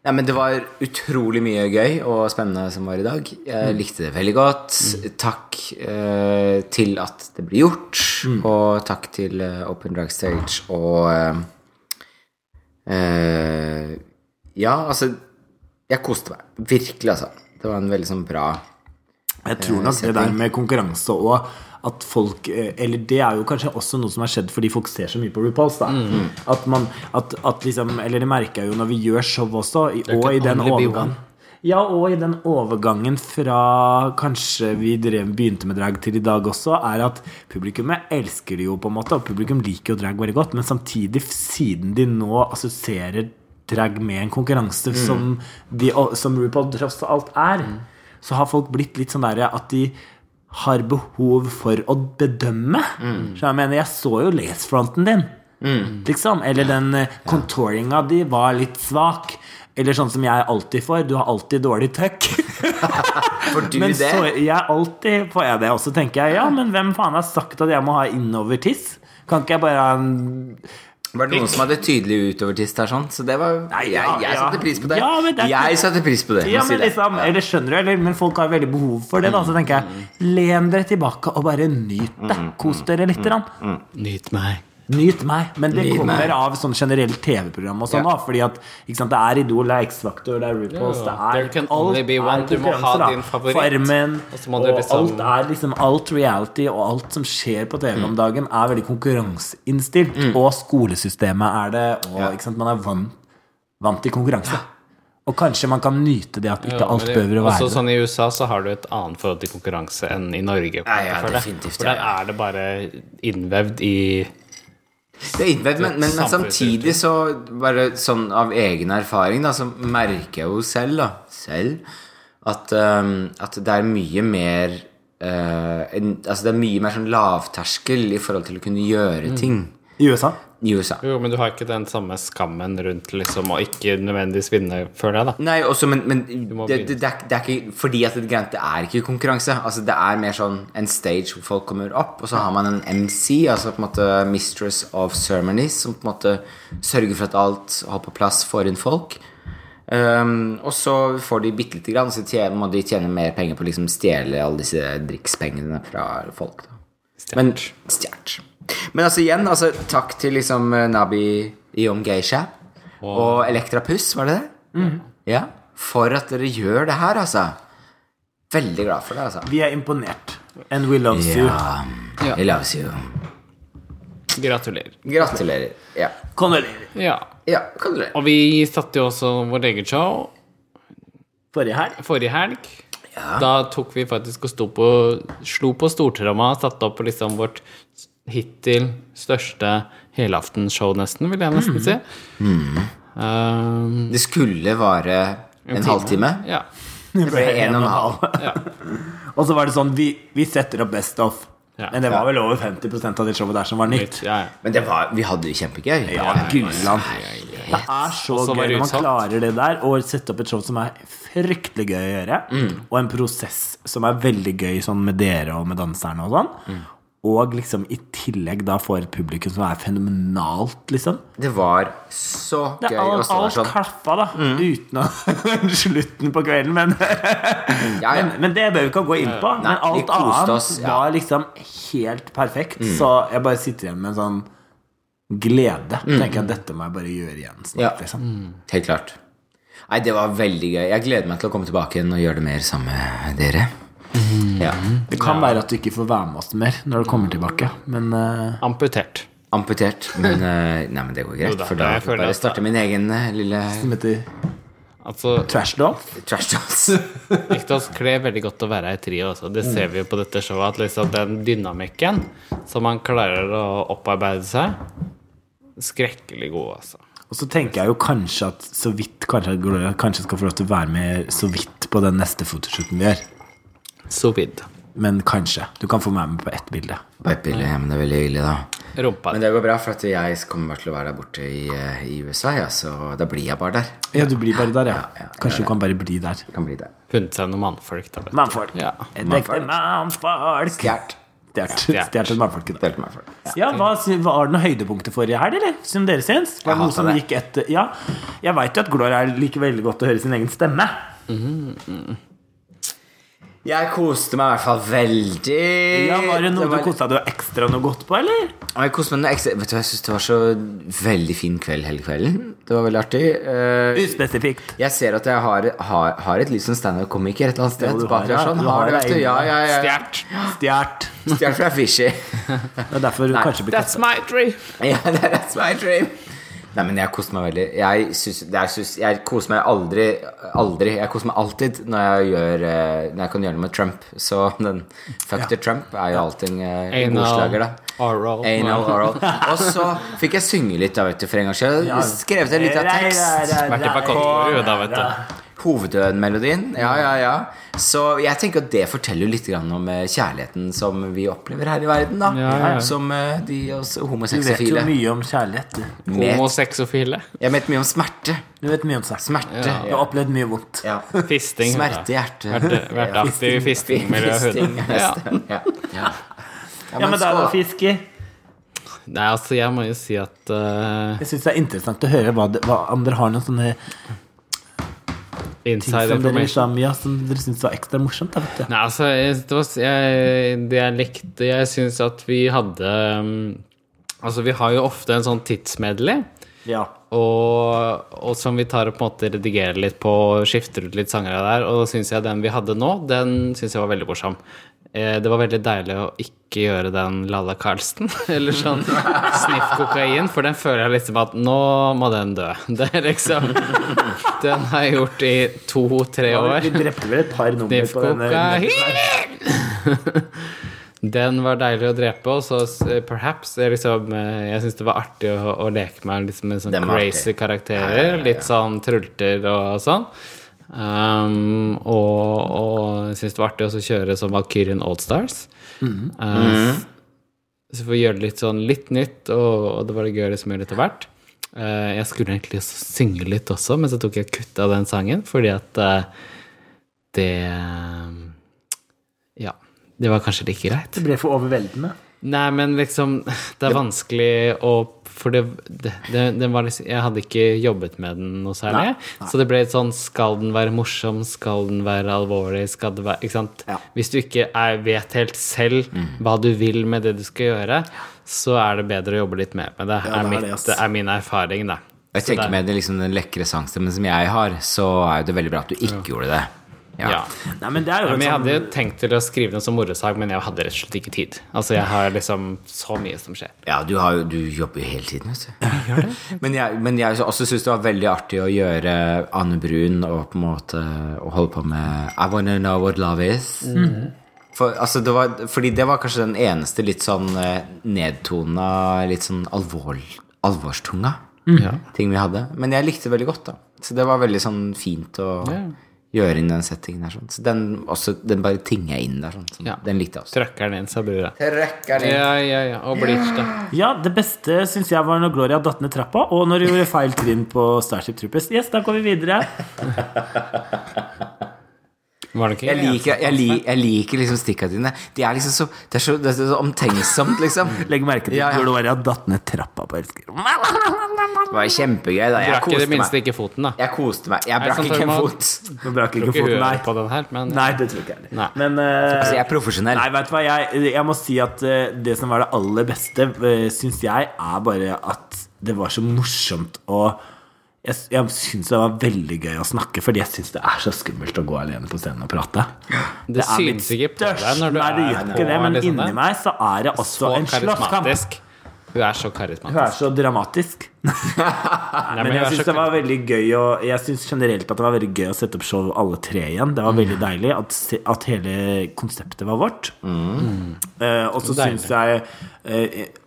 Speaker 4: Nei, men Det var utrolig mye gøy og spennende som var i dag. Jeg
Speaker 3: Mm.
Speaker 4: likte det veldig godt. Takk eh, til at det blir gjort,
Speaker 3: Mm.
Speaker 4: og takk til eh, Open Drag Stage og eh, eh, Ja, altså Jeg koste meg. Virkelig, altså. Det var en veldig sånn bra
Speaker 3: jeg tror nok det der med konkurranse og at folk eh, Eller det er jo kanskje også noe som har skjedd fordi folk ser så mye på RuPaul's. Da. At man at, at liksom Eller det merker jeg jo når vi gjør show også, i, og
Speaker 1: can
Speaker 3: i den
Speaker 1: only be
Speaker 3: overgangen.
Speaker 1: one.
Speaker 3: Ja, og i den overgangen fra kanskje vi drev, begynte med drag til i dag også, er at publikummet elsker det jo, på en måte, og publikum liker jo drag veldig godt, men samtidig, siden de nå assosierer drag med en konkurranse som, de, som RuPaul tross alt er, så har folk blitt litt sånn derre at de har behov for å bedømme.
Speaker 4: Mm.
Speaker 3: Så jeg mener, jeg så jo lesefronten din. Liksom. Eller den eh, contouringa di var litt svak. Eller sånn som jeg alltid får. Du har alltid dårlig tøkk.
Speaker 4: For du,
Speaker 3: Men
Speaker 4: det?
Speaker 3: så jeg alltid får jeg det også, tenker jeg. Ja, men hvem faen har sagt at jeg må ha innovertiss? Kan ikke jeg bare ha en
Speaker 4: Var det noen som hadde tydelig utovertist her, sånn? Så det var
Speaker 3: Nei,
Speaker 4: jeg,
Speaker 3: ja,
Speaker 4: jeg
Speaker 3: ja.
Speaker 4: satte pris på det.
Speaker 3: Ja, men det er ikke-
Speaker 4: jeg satte pris på det.
Speaker 3: Ja,
Speaker 4: må
Speaker 3: men
Speaker 4: si det.
Speaker 3: liksom, eller skjønner du, eller, men folk har veldig behov for det. Da, så tenker jeg,
Speaker 4: Mm.
Speaker 3: len dere tilbake og bare nyt det. Kos dere litt.
Speaker 4: mm.
Speaker 3: Grann.
Speaker 1: Nyt meg.
Speaker 3: Nyt meg. Men det
Speaker 4: Nyt
Speaker 3: kommer
Speaker 4: meg.
Speaker 3: av sånn generelt TV-program og sånn.
Speaker 4: Ja.
Speaker 3: da, Fordi at ikke sant, det er Idol, det er X-Factor, det er RuPaul's, det er
Speaker 1: There can only be one.
Speaker 3: er
Speaker 1: Du må ha
Speaker 3: konkurranse, da.
Speaker 1: din favoritt.
Speaker 3: Farmen.
Speaker 1: Og så må
Speaker 3: Og
Speaker 1: dere liksom- Mm.
Speaker 3: alt er liksom alt reality og alt som skjer på TV om dagen, er veldig konkurranseinnstilt. Og skolesystemet er det, og
Speaker 4: Ja.
Speaker 3: ikke sant, man er vant, vant til konkurranse. Og kanskje man kan nyte det at ikke
Speaker 1: Ja, men
Speaker 3: alt
Speaker 1: det-
Speaker 3: behøver å være
Speaker 1: Også sånn I USA så har du et annet forhold til konkurranse enn i Norge.
Speaker 4: Ja, ja,
Speaker 1: for det.
Speaker 4: definitivt,
Speaker 1: For
Speaker 4: ja,
Speaker 1: der
Speaker 4: ja.
Speaker 1: er det bare innvevd i
Speaker 4: Det er innvevd, men, men, men samtidig så Bare sånn av egen erfaring, da, så merker jeg jo selv, da, selv at, ehm, at det er mye mer eh, en, Altså det er mye mer sånn lavterskel i forhold til å kunne gjøre ting
Speaker 3: I USA?
Speaker 4: i USA.
Speaker 1: Jo, men du har ikke den samme skammen rundt liksom å ikke nødvendigvis vinne, føler jeg, da.
Speaker 4: Nei, også, men, men
Speaker 1: må
Speaker 4: det, det, det, er, det er ikke fordi at det, det er ikke konkurranse. Altså, det er mer sånn en stage hvor folk kommer opp, og så har man en MC, altså på en måte Mistress of Ceremonies, som på en måte sørger for at alt har på plass for en folk. Ehm, og så får de bitte lite grann, så tjener, må de tjene mer penger på å liksom stjele alle disse drikkspengene fra folk. Da. Men stjert. Men altså igjen, altså, takk til liksom eh, Nabi Iom Geisha og Elektra Puss, var det det?
Speaker 3: Mhm.
Speaker 4: Ja. For at dere gjør det her, altså. Veldig glad for det, altså.
Speaker 3: Vi er imponert. And we loves you.
Speaker 4: Ja. I loves you.
Speaker 1: Gratulerer.
Speaker 4: Gratulerer. Ja.
Speaker 3: Kondolerer.
Speaker 1: Ja.
Speaker 4: ja gratulerer.
Speaker 1: Og vi satte jo også vårt eget show
Speaker 3: Forrige helg.
Speaker 1: forrige helg. Da tok vi faktisk og sto på, slo på stortromma og satte opp liksom vårt hittil største helaftenshow, nesten, vil jeg nesten si. Um,
Speaker 4: Det skulle vare en, halvtime.
Speaker 1: ja.
Speaker 3: Det
Speaker 4: ble en og en halv.
Speaker 1: ja.
Speaker 3: Og så var det sånn Vi, vi setter opp Best of.
Speaker 1: Ja.
Speaker 3: Men det var vel over 50 av det showet der som var nytt.
Speaker 1: ja, ja.
Speaker 4: Men det var, vi hadde det jo kjempegøy.
Speaker 3: Ja, ja, ja.
Speaker 4: Gudland.
Speaker 3: Det er så
Speaker 1: Og så
Speaker 3: gøy
Speaker 1: var det
Speaker 3: når man
Speaker 1: utsatt.
Speaker 3: klarer det der, og sette opp et show som er fryktelig gøy å gjøre,
Speaker 1: Mm.
Speaker 3: og en prosess som er veldig gøy sånn med dere og med danserne og sånn.
Speaker 1: Mm.
Speaker 3: Og liksom i tillegg da får et publikum som er fenomenalt, liksom.
Speaker 4: Det var så
Speaker 3: Det
Speaker 4: gøy
Speaker 3: er
Speaker 4: å
Speaker 3: alt,
Speaker 4: stå der
Speaker 3: alt
Speaker 4: sånn.
Speaker 3: klaffa, da.
Speaker 1: Mm.
Speaker 3: Uten å slutten på kvelden, men,
Speaker 4: Ja, ja.
Speaker 3: men, men det bør vi ikke gå inn på.
Speaker 4: Nei,
Speaker 3: men alt
Speaker 4: vi koste
Speaker 3: annet
Speaker 4: oss, ja.
Speaker 3: var liksom helt perfekt. Så jeg bare sitter igjen med en sånn glede. Tenker at dette må jeg bare gjøre igjen snart,
Speaker 4: Ja.
Speaker 3: liksom.
Speaker 4: Helt klart. Nei, det var veldig gøy. Jeg gleder meg til å komme tilbake igjen og gjøre det mer sammen med dere. Ja.
Speaker 3: Det kan være at du ikke får være med oss mer når du kommer tilbake, men eh,
Speaker 1: Amputert.
Speaker 4: Amputert. Men, eh, nei, men det går
Speaker 1: Jo
Speaker 4: greit,
Speaker 1: da,
Speaker 4: for da
Speaker 1: jeg
Speaker 4: får jeg
Speaker 1: føler
Speaker 4: bare
Speaker 1: at-
Speaker 4: starte min egen eh, lille
Speaker 3: som heter
Speaker 1: Altså,
Speaker 3: Trash Dolph.
Speaker 4: trash talks.
Speaker 1: Riktignok kler veldig godt å være i trio også. Det ser vi jo på dette showet, at liksom den dynamikken som man klarer å opparbeide seg Skrekkelig god, altså.
Speaker 3: Og så tenker jeg jo kanskje at så vidt kanskje at Gloria kanskje skal få lov til å være med så vidt på den neste fotoshooten vi gjør.
Speaker 1: So bid.
Speaker 3: Men kanskje. Du kan få meg med på ett bilde.
Speaker 4: Bare pille, ja, men det er veldig hyggelig, da.
Speaker 1: Rumpa.
Speaker 4: Men det går bra, for at jeg kommer bare til å være der borte i, eh, i USA, ja, så da blir jeg bare der.
Speaker 3: Ja, du blir bare der, ja.
Speaker 4: ja, ja,
Speaker 3: Kanskje du kan bare bli der.
Speaker 4: Jeg kan bli der.
Speaker 1: Funnet seg noen mannfolk, da. Vet du.
Speaker 3: Mannfolk.
Speaker 1: Ja.
Speaker 3: Et ekte mannfolk.
Speaker 4: Stjert.
Speaker 3: Stjert.
Speaker 1: Stjert.
Speaker 3: Stjert et mannfolk. i dag.
Speaker 4: Delte meg for det.
Speaker 3: Ja, hva sy- var det noe høydepunktet forrige helg, eller? Som dere syns? Var det
Speaker 4: Jeg
Speaker 3: noe
Speaker 4: hater
Speaker 3: som
Speaker 4: det.
Speaker 3: gikk etter Ja, jeg veit jo at Gloria liker veldig godt å høre sin egen stemme.
Speaker 4: Jeg koste meg i hvert fall veldig.
Speaker 3: Ja, Var det noe
Speaker 4: Eh, var-
Speaker 3: du kosta deg ekstra noe godt på, eller?
Speaker 4: Og Jeg koste meg noe ekstra. Vet du hva, jeg synes det var så veldig fin kveld hele kvelden. Det var veldig artig. Eh,
Speaker 3: Uspesifikt.
Speaker 4: Jeg ser at jeg har, har, har et liv som standup-komiker et eller annet sted.
Speaker 3: Jo, du har
Speaker 4: bak der,
Speaker 3: det.
Speaker 4: sånn.
Speaker 3: Du
Speaker 4: har
Speaker 3: har
Speaker 4: det,
Speaker 3: det
Speaker 4: vet du.
Speaker 3: inne.
Speaker 4: Ja, ja, ja.
Speaker 1: Stjert.
Speaker 3: Stjålet.
Speaker 4: Stjert fra Fishy.
Speaker 3: Det er derfor hun kanskje blir
Speaker 1: That's
Speaker 3: kastet.
Speaker 1: my dream.
Speaker 4: ja, that's my dream. Nei, men jeg koser meg veldig. Jeg, synes, jeg, synes, jeg koser meg aldri, aldri Jeg koser meg alltid når jeg, gjør, eh, når jeg kan gjøre noe med Trump. Så den fuck the Trump er jo alltid eh, en god slager, da.
Speaker 1: oral.
Speaker 4: Anal, oral. Og så fikk jeg synge litt, da, vet du, for en gangs skyld. Skrevet en liten tekst.
Speaker 1: Vært i Pakotorio, da, vet du.
Speaker 4: Hovedmelodien, ja, ja, ja. Så jeg tenker at det forteller jo litt grann om eh, kjærligheten som vi opplever her i verden, da.
Speaker 1: ja, ja.
Speaker 4: Som eh, de oss
Speaker 3: Du vet jo
Speaker 4: homoseksifile.
Speaker 3: mye om kjærlighet, du.
Speaker 4: Vet-
Speaker 1: Homosexofile.
Speaker 4: Jeg vet mye om smerte.
Speaker 3: Du vet mye om sex.
Speaker 4: Smerte.
Speaker 3: Du har opplevd mye vondt.
Speaker 4: Ja.
Speaker 1: Fisting.
Speaker 4: Smerte i
Speaker 1: ja.
Speaker 4: hjertet.
Speaker 1: Vært, vært aktiv i fistingmiljøet.
Speaker 4: Fisting.
Speaker 1: Ja.
Speaker 4: Ja. Ja.
Speaker 3: Ja, men da er det
Speaker 4: skål,
Speaker 3: fisk i.
Speaker 4: da.
Speaker 1: Nei, altså, jeg må jo si at eh,
Speaker 3: Jeg syns det er interessant å høre hva, det, hva om dere har noen sånne ting
Speaker 1: Inside
Speaker 3: som dere,
Speaker 1: information
Speaker 3: liksom, ja, som dere syns var ekstra morsomt. Da, vet du.
Speaker 1: Nei, altså, jeg, det, var, jeg, det jeg likte Jeg syns at vi hadde mm, Altså, vi har jo ofte en sånn tidsmedley,
Speaker 3: Ja.
Speaker 1: og, og som vi tar og på en måte redigerer litt på, skifter ut litt sangere der, og syns jeg den vi hadde nå, den syns jeg var veldig morsom. Eh, Det var veldig deilig å ikke gjøre den Lalla Carlsen, eller sånn sniff kokain, for den føler jeg liksom at nå må den dø. Det er liksom Den har jeg gjort i to-tre år.
Speaker 3: Vi drepte vel et par nummer
Speaker 1: Sniff
Speaker 3: på denne.
Speaker 1: kokain! Den var deilig å drepe, og så eh, perhaps eh, liksom, eh, Jeg syns det var artig å, å leke meg liksom, med sånne
Speaker 4: Den var
Speaker 1: crazy
Speaker 4: artig.
Speaker 1: karakterer.
Speaker 4: Ja, ja, ja, ja.
Speaker 1: Litt sånn trulter og sånn. Um, og og jeg syns det var artig også å kjøre som Valkyrien Allstars.
Speaker 4: Mm.
Speaker 1: Uh, så får vi gjøre det litt sånn litt nytt, og, og det var det gøy liksom å gjøre det etter hvert. Eh, jeg skulle egentlig også synge litt også, men så tok jeg kutt av den sangen, fordi at eh, det Ja. Det var kanskje like greit.
Speaker 3: Det ble for overveldende.
Speaker 1: Nei, men liksom Det er vanskelig å For det, det, det, den var liksom Jeg hadde ikke jobbet med den noe særlig. Så det ble et sånn Skal den være morsom? Skal den være alvorlig? Skal det være Ikke sant?
Speaker 3: Ja. Mm.
Speaker 1: Hvis du ikke er, vet helt selv hva du vil med det du skal gjøre, så er det bedre å jobbe litt mer med det.
Speaker 3: Ja,
Speaker 1: er
Speaker 3: det er
Speaker 1: mitt,
Speaker 3: det, ass.
Speaker 1: det er min erfaring, da.
Speaker 4: Jeg
Speaker 1: Så
Speaker 4: tenker
Speaker 1: det-
Speaker 4: med det, liksom, den lekre sangstemmen som jeg har, så er jo det veldig bra at du ikke gjorde det. Ja.
Speaker 1: Ja.
Speaker 3: Nei, men det er jo
Speaker 1: Men jeg
Speaker 3: sånn-
Speaker 1: hadde jo tenkt til å skrive den som morosag, men jeg hadde rett og slett ikke tid. Altså, jeg har liksom så mye som skjer.
Speaker 4: Ja, du, har, jo- du jobber jo hele tiden, vet du. Men jeg, men jeg også syns det var veldig artig å gjøre Anne Brun og på en måte å holde på med I wanna know what love is. For, altså, det var, fordi det var kanskje den eneste litt sånn eh, nedtona, litt sånn alvor, alvorstunga
Speaker 1: Mm.
Speaker 4: ting vi hadde. Men jeg likte det veldig godt, da. Så det var veldig sånn fint å gjøre inn den settingen der. Sånn. Så den, også, den bare tinga inn der. Sånn. Sånn.
Speaker 1: Ja.
Speaker 4: Den likte jeg også.
Speaker 1: Trøkker den inn, sa brura.
Speaker 4: Trekker den inn.
Speaker 1: Ja, ja, ja. Og Bleach, da.
Speaker 3: Ja, det beste syns jeg var når Gloria datt ned trappa, og når hun gjorde feil trim på Starship Troopers. Yes, da går vi videre.
Speaker 1: Var det ikke
Speaker 4: Jeg liker, jeg, li- jeg liker liksom stikka dine. De er liksom så, det er så, det er så omtenksomt, liksom.
Speaker 3: Legg merke til
Speaker 4: Ja, ja.
Speaker 3: Gloria datt ned trappa på elsker.
Speaker 4: Det var kjempegøy, da. Jeg
Speaker 1: Brakk i det
Speaker 4: koste
Speaker 1: minste
Speaker 4: meg.
Speaker 1: ikke foten, da.
Speaker 4: Jeg koste meg. Jeg brakk
Speaker 1: sånn
Speaker 4: ikke en
Speaker 1: format.
Speaker 4: fot.
Speaker 3: Nå brakk ikke
Speaker 1: Ikke
Speaker 3: foten,
Speaker 1: høre
Speaker 3: nei.
Speaker 1: på den her, men
Speaker 3: Nei, det tror ikke jeg
Speaker 1: Nei.
Speaker 3: heller. Men eh,
Speaker 4: Altså, jeg er profesjonell.
Speaker 3: Nei, vet du hva, jeg, jeg må si at eh, det som var det aller beste, uh, syns jeg, er bare at det var så morsomt å Jeg, jeg syns det var veldig gøy å snakke, fordi jeg syns det er så skummelt å gå alene på scenen og prate.
Speaker 1: det,
Speaker 3: er mitt
Speaker 1: synes ikke på deg når du
Speaker 3: Nei, det
Speaker 1: er
Speaker 3: gjør
Speaker 1: på,
Speaker 3: ikke det, men
Speaker 1: liksom,
Speaker 3: inni
Speaker 1: der.
Speaker 3: meg så er det også
Speaker 1: så
Speaker 3: en slåsskamp.
Speaker 1: karismatisk. Hun er så
Speaker 3: Hun
Speaker 1: karismatisk.
Speaker 3: er så dramatisk.
Speaker 1: Nei,
Speaker 3: Men
Speaker 1: hun er så
Speaker 3: jeg syns det var
Speaker 1: karismatisk.
Speaker 3: veldig gøy å- Jeg synes generelt at det var veldig gøy å sette opp show alle tre igjen. Det var
Speaker 1: Mm.
Speaker 3: veldig deilig at, se- at hele konseptet var vårt. Eh, og
Speaker 1: Mm. Deilig.
Speaker 3: så syns jeg eh, det,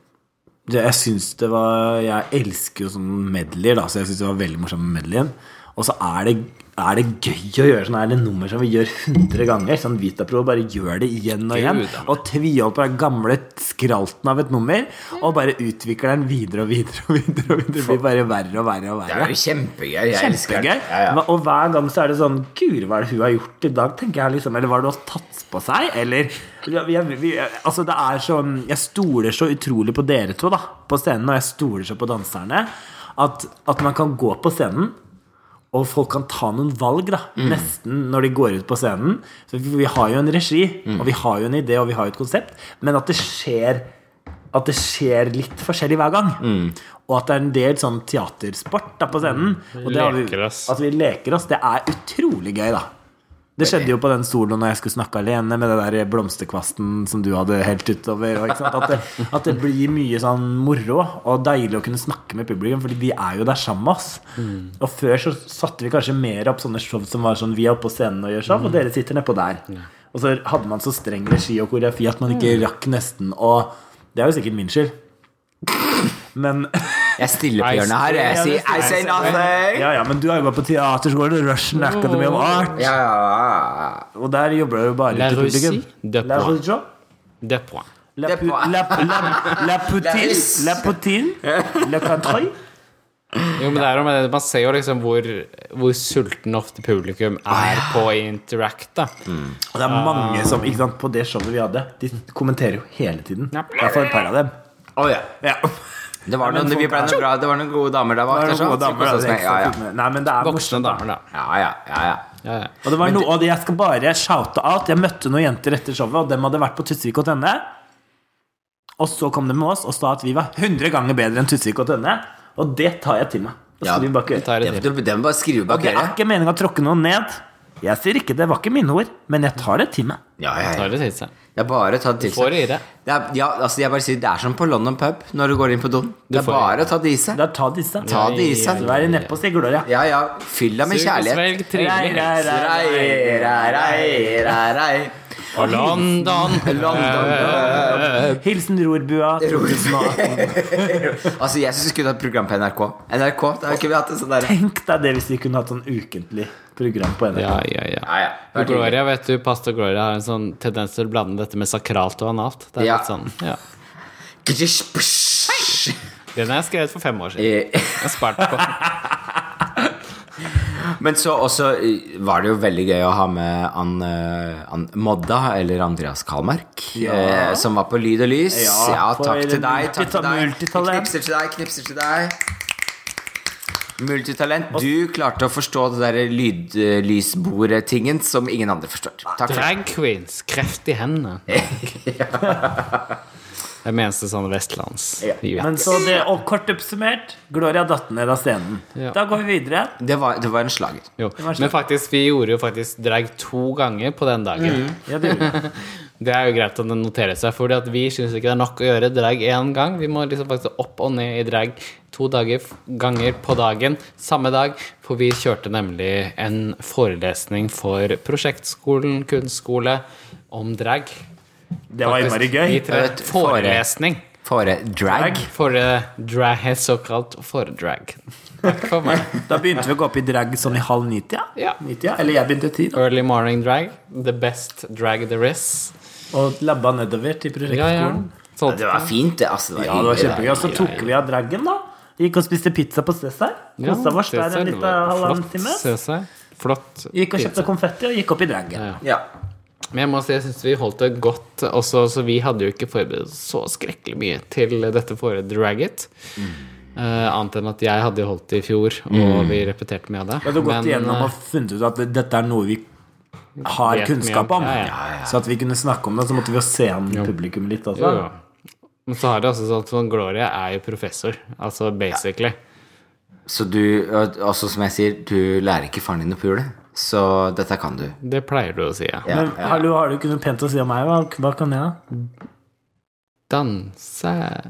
Speaker 3: Jeg syns det var Jeg elsker jo sånne medleyer, da, så jeg syns det var veldig morsomt med medleyen. Og så er det er det gøy å gjøre sånne her nummer som vi gjør 100 ganger. Sånn Vitapro bare gjør det igjen og igjen.
Speaker 1: Gud,
Speaker 3: Og tviholder på den gamle skralten av et nummer. Og bare utvikler den videre og videre og videre. og videre Det blir bare verre og verre og
Speaker 4: Det
Speaker 3: verre.
Speaker 4: er jo kjempegøy. Jeg elsker
Speaker 3: Kjempegøy.
Speaker 4: det. Ja, ja.
Speaker 3: Hva- Og hver gang så er det sånn Guri, hva er det hun har gjort i dag? tenker jeg liksom Eller hva er det hun har tatt på seg? Eller ja, jeg, vi, Altså, det er sånn Jeg stoler så utrolig på dere to, da, på scenen, og jeg stoler så på danserne, at, at man kan gå på scenen og folk kan ta noen valg, da, nesten, når de går ut på scenen. Så vi, vi har jo en regi, og vi har jo en idé, og vi har jo et konsept, men at det skjer at det skjer litt forskjellig hver gang. Og at det er en del sånn teatersport da, på scenen. Og det har vi,
Speaker 1: Leker oss.
Speaker 3: at vi leker oss. Det er utrolig gøy, da. Det skjedde jo på den soloen når jeg skulle snakke alene, med den der blomsterkvasten som du hadde helt utover. Og, ikke sant? At, det, at det blir mye sånn moro og deilig å kunne snakke med publikum, fordi de er jo der sammen med oss.
Speaker 4: Mm.
Speaker 3: Og før så satte vi kanskje mer opp sånne show som var sånn vi er oppe på scenen og gjør show,
Speaker 4: Mm.
Speaker 3: og dere sitter nedpå der. Og så hadde man så streng regi og koreografi at man
Speaker 4: Mm.
Speaker 3: ikke rakk nesten å Det er jo sikkert min skyld. Men
Speaker 4: Jeg stiller på hjørnet her. Jeg sier I say nothing.
Speaker 3: ja, ja, men du har jobba på teaterskolen, Russian Academy of Art,
Speaker 4: Ja, ja,
Speaker 3: og der jobber du jo bare
Speaker 1: La
Speaker 3: til publikum.
Speaker 1: Russie, de
Speaker 3: La
Speaker 1: point.
Speaker 3: Russie.
Speaker 1: De point.
Speaker 3: La,
Speaker 4: Det
Speaker 3: pu
Speaker 4: var-
Speaker 3: la, la, la poutine
Speaker 4: russ.
Speaker 3: La poutine La country
Speaker 1: Jo, men det er jo med det. Man ser jo liksom hvor, hvor sulten ofte publikum er på å Interact, da.
Speaker 3: Og det
Speaker 1: Ah.
Speaker 3: er mange som ikke sant, På det showet vi hadde De kommenterer jo hele tiden I hvert fall et par av dem
Speaker 4: Å, ja.
Speaker 2: Ja.
Speaker 4: Det var
Speaker 3: Ja, men
Speaker 4: noen, vi
Speaker 3: folk
Speaker 4: ble
Speaker 3: er-
Speaker 4: noen bra, det var noen gode damer der bak.
Speaker 3: Det var
Speaker 4: der,
Speaker 3: noen
Speaker 4: så-
Speaker 3: gode
Speaker 4: så
Speaker 3: damer.
Speaker 4: koset
Speaker 3: da,
Speaker 4: oss
Speaker 3: det
Speaker 4: med. Ja,
Speaker 3: ekstra
Speaker 4: ja.
Speaker 3: kult med- Nei, men det er
Speaker 1: Voksne
Speaker 3: morsomt, da.
Speaker 1: damer, da.
Speaker 4: Ja, ja, ja, ja.
Speaker 1: Ja, ja.
Speaker 3: Og det var noe, og jeg skal bare shoute out. Jeg møtte noen jenter etter showet, og dem hadde vært på Tusvik og Tønne. Og så kom de med oss og sa at vi var 100 ganger bedre enn Tusvik og Tønne. Og det tar jeg til meg. Det
Speaker 4: Ja,
Speaker 3: skal vi bak
Speaker 1: Vi
Speaker 3: øret.
Speaker 1: tar
Speaker 4: Det,
Speaker 1: et
Speaker 4: du, det må bare skrive bak
Speaker 3: Det er
Speaker 4: øret.
Speaker 3: ikke meninga å tråkke noen ned. Jeg sier ikke det var ikke mine ord, men jeg tar det til meg.
Speaker 4: Ja, ja, ja.
Speaker 1: tar et hit,
Speaker 4: Det er bare å ta det til
Speaker 1: Får det i deg.
Speaker 4: Det er, ja, altså jeg bare sier, det er som på London pub når du går inn på doen. Det er
Speaker 1: får
Speaker 4: bare å ta det i seg.
Speaker 3: Da ta disse.
Speaker 4: Ta det i seg.
Speaker 3: Vær nedpå, sier Gloria.
Speaker 4: Ja, ja. Fyll deg med
Speaker 1: Sug og
Speaker 4: kjærlighet.
Speaker 1: svelg
Speaker 3: Rei,
Speaker 1: trivelig.
Speaker 3: rei, rei,
Speaker 4: Rei,
Speaker 3: rei.
Speaker 4: rei, rei, rei, rei.
Speaker 1: Og London.
Speaker 4: London pub.
Speaker 3: Hilsen Rorbua
Speaker 4: Eh.
Speaker 3: 2018.
Speaker 4: Altså, jeg syns vi skulle hatt program på NRK. NRK, da kunne vi hatt en sånn derre
Speaker 3: Tenk deg det hvis vi kunne hatt sånn ukentlig program på NRK.
Speaker 1: Ja, ja, ja.
Speaker 4: Ja, ja.
Speaker 1: Og Gloria, vet du, Pastor Gloria har en sånn tendens til å blande dette med sakralt og analt. Det er
Speaker 4: Ja.
Speaker 1: litt sånn, ja.
Speaker 4: Gjish,
Speaker 1: Den har jeg skrevet for fem år siden.
Speaker 4: psh.
Speaker 1: Jeg har spart på.
Speaker 4: Men så også eh, var det jo veldig gøy å ha med Ann, eh, Ann Modda, eller Andreas Kalmark, eh, som var på Lyd og Lys. Ja,
Speaker 3: Ja, for
Speaker 4: takk til deg. Takk
Speaker 3: multita-
Speaker 4: til deg.
Speaker 3: multitalent.
Speaker 4: Knipser til deg, knipser til deg. Multitalent. Du klarte å forstå det derre lydlysbordtingen som ingen andre forstår.
Speaker 3: Ah,
Speaker 4: Takk for det.
Speaker 1: Drag queens, kreft i hendene. Det meste sånn vestlands. Vi vet.
Speaker 3: Men så det, og kort oppsummert, Gloria datt ned av scenen.
Speaker 1: Ja.
Speaker 3: Da går vi videre.
Speaker 4: Det var, det var en slager.
Speaker 1: Jo. Men faktisk, vi gjorde jo faktisk drag to ganger på den dagen.
Speaker 3: Ja, det gjorde vi.
Speaker 1: Det er jo greit å notere seg, Fordi at vi syns ikke det er nok å gjøre drag én gang. Vi må liksom faktisk opp og ned i drag to dager ganger på dagen samme dag. For vi kjørte nemlig en forelesning for prosjektskolen kunstskole om drag.
Speaker 3: det var
Speaker 1: Vi
Speaker 3: innmari gøy.
Speaker 1: tre.
Speaker 4: Et fore-
Speaker 1: Forelesning.
Speaker 4: For eh, drag.
Speaker 1: Foredrag, såkalt foredrag. Takk for meg.
Speaker 3: Da begynte vi å gå opp i drag sånn i halv ni-tida.
Speaker 1: Ja.
Speaker 3: Ni-tida, Eller jeg begynte ti, da.
Speaker 1: Early morning drag. The best drag there is.
Speaker 3: Og labba nedover til
Speaker 1: Ja, ja.
Speaker 3: prosjektskolen.
Speaker 1: Sånn.
Speaker 4: Det var fint, det. Altså, det var
Speaker 3: Ja, det var
Speaker 4: hyggelig,
Speaker 3: kjempegøy. Og så tok vi av dragen, da. Gikk og spiste pizza på Cæsar.
Speaker 1: Ja,
Speaker 3: Kosa oss der
Speaker 1: Cæsar
Speaker 3: en liten
Speaker 1: var
Speaker 3: halvannen
Speaker 1: flott,
Speaker 3: time.
Speaker 1: Cæsar. Flott.
Speaker 3: Gikk og
Speaker 1: pizza.
Speaker 3: kjøpte konfetti og gikk opp i dragen.
Speaker 1: Ja.
Speaker 4: Ja.
Speaker 1: Men jeg må si, jeg syns vi holdt det godt også, så vi hadde jo ikke forberedt oss så skrekkelig mye til dette foredraget. Eh, annet enn at jeg hadde jo holdt det i fjor, og
Speaker 3: Mm.
Speaker 1: vi repeterte mye av det.
Speaker 3: Vi hadde gått
Speaker 1: Men,
Speaker 3: igjennom
Speaker 1: eh,
Speaker 3: og funnet ut at dette er noe vi har
Speaker 1: Vet mye
Speaker 3: kunnskap
Speaker 1: om.
Speaker 3: om.
Speaker 1: Ja, ja,
Speaker 3: Så at vi kunne snakke om det, så måtte vi jo se an publikum litt.
Speaker 1: Jo,
Speaker 3: Altså.
Speaker 1: jo. Men så har det også sånn at sånn Gloria er jo professor, altså basically.
Speaker 4: Så du, og og så som jeg sier, du lærer ikke faren din å pule, så dette kan du.
Speaker 1: Det pleier du å si, ja.
Speaker 4: Ja,
Speaker 3: Men
Speaker 4: ja.
Speaker 3: hallo, har du ikke noe pent å si om meg? Hva, hva kan jeg, da?
Speaker 1: Danse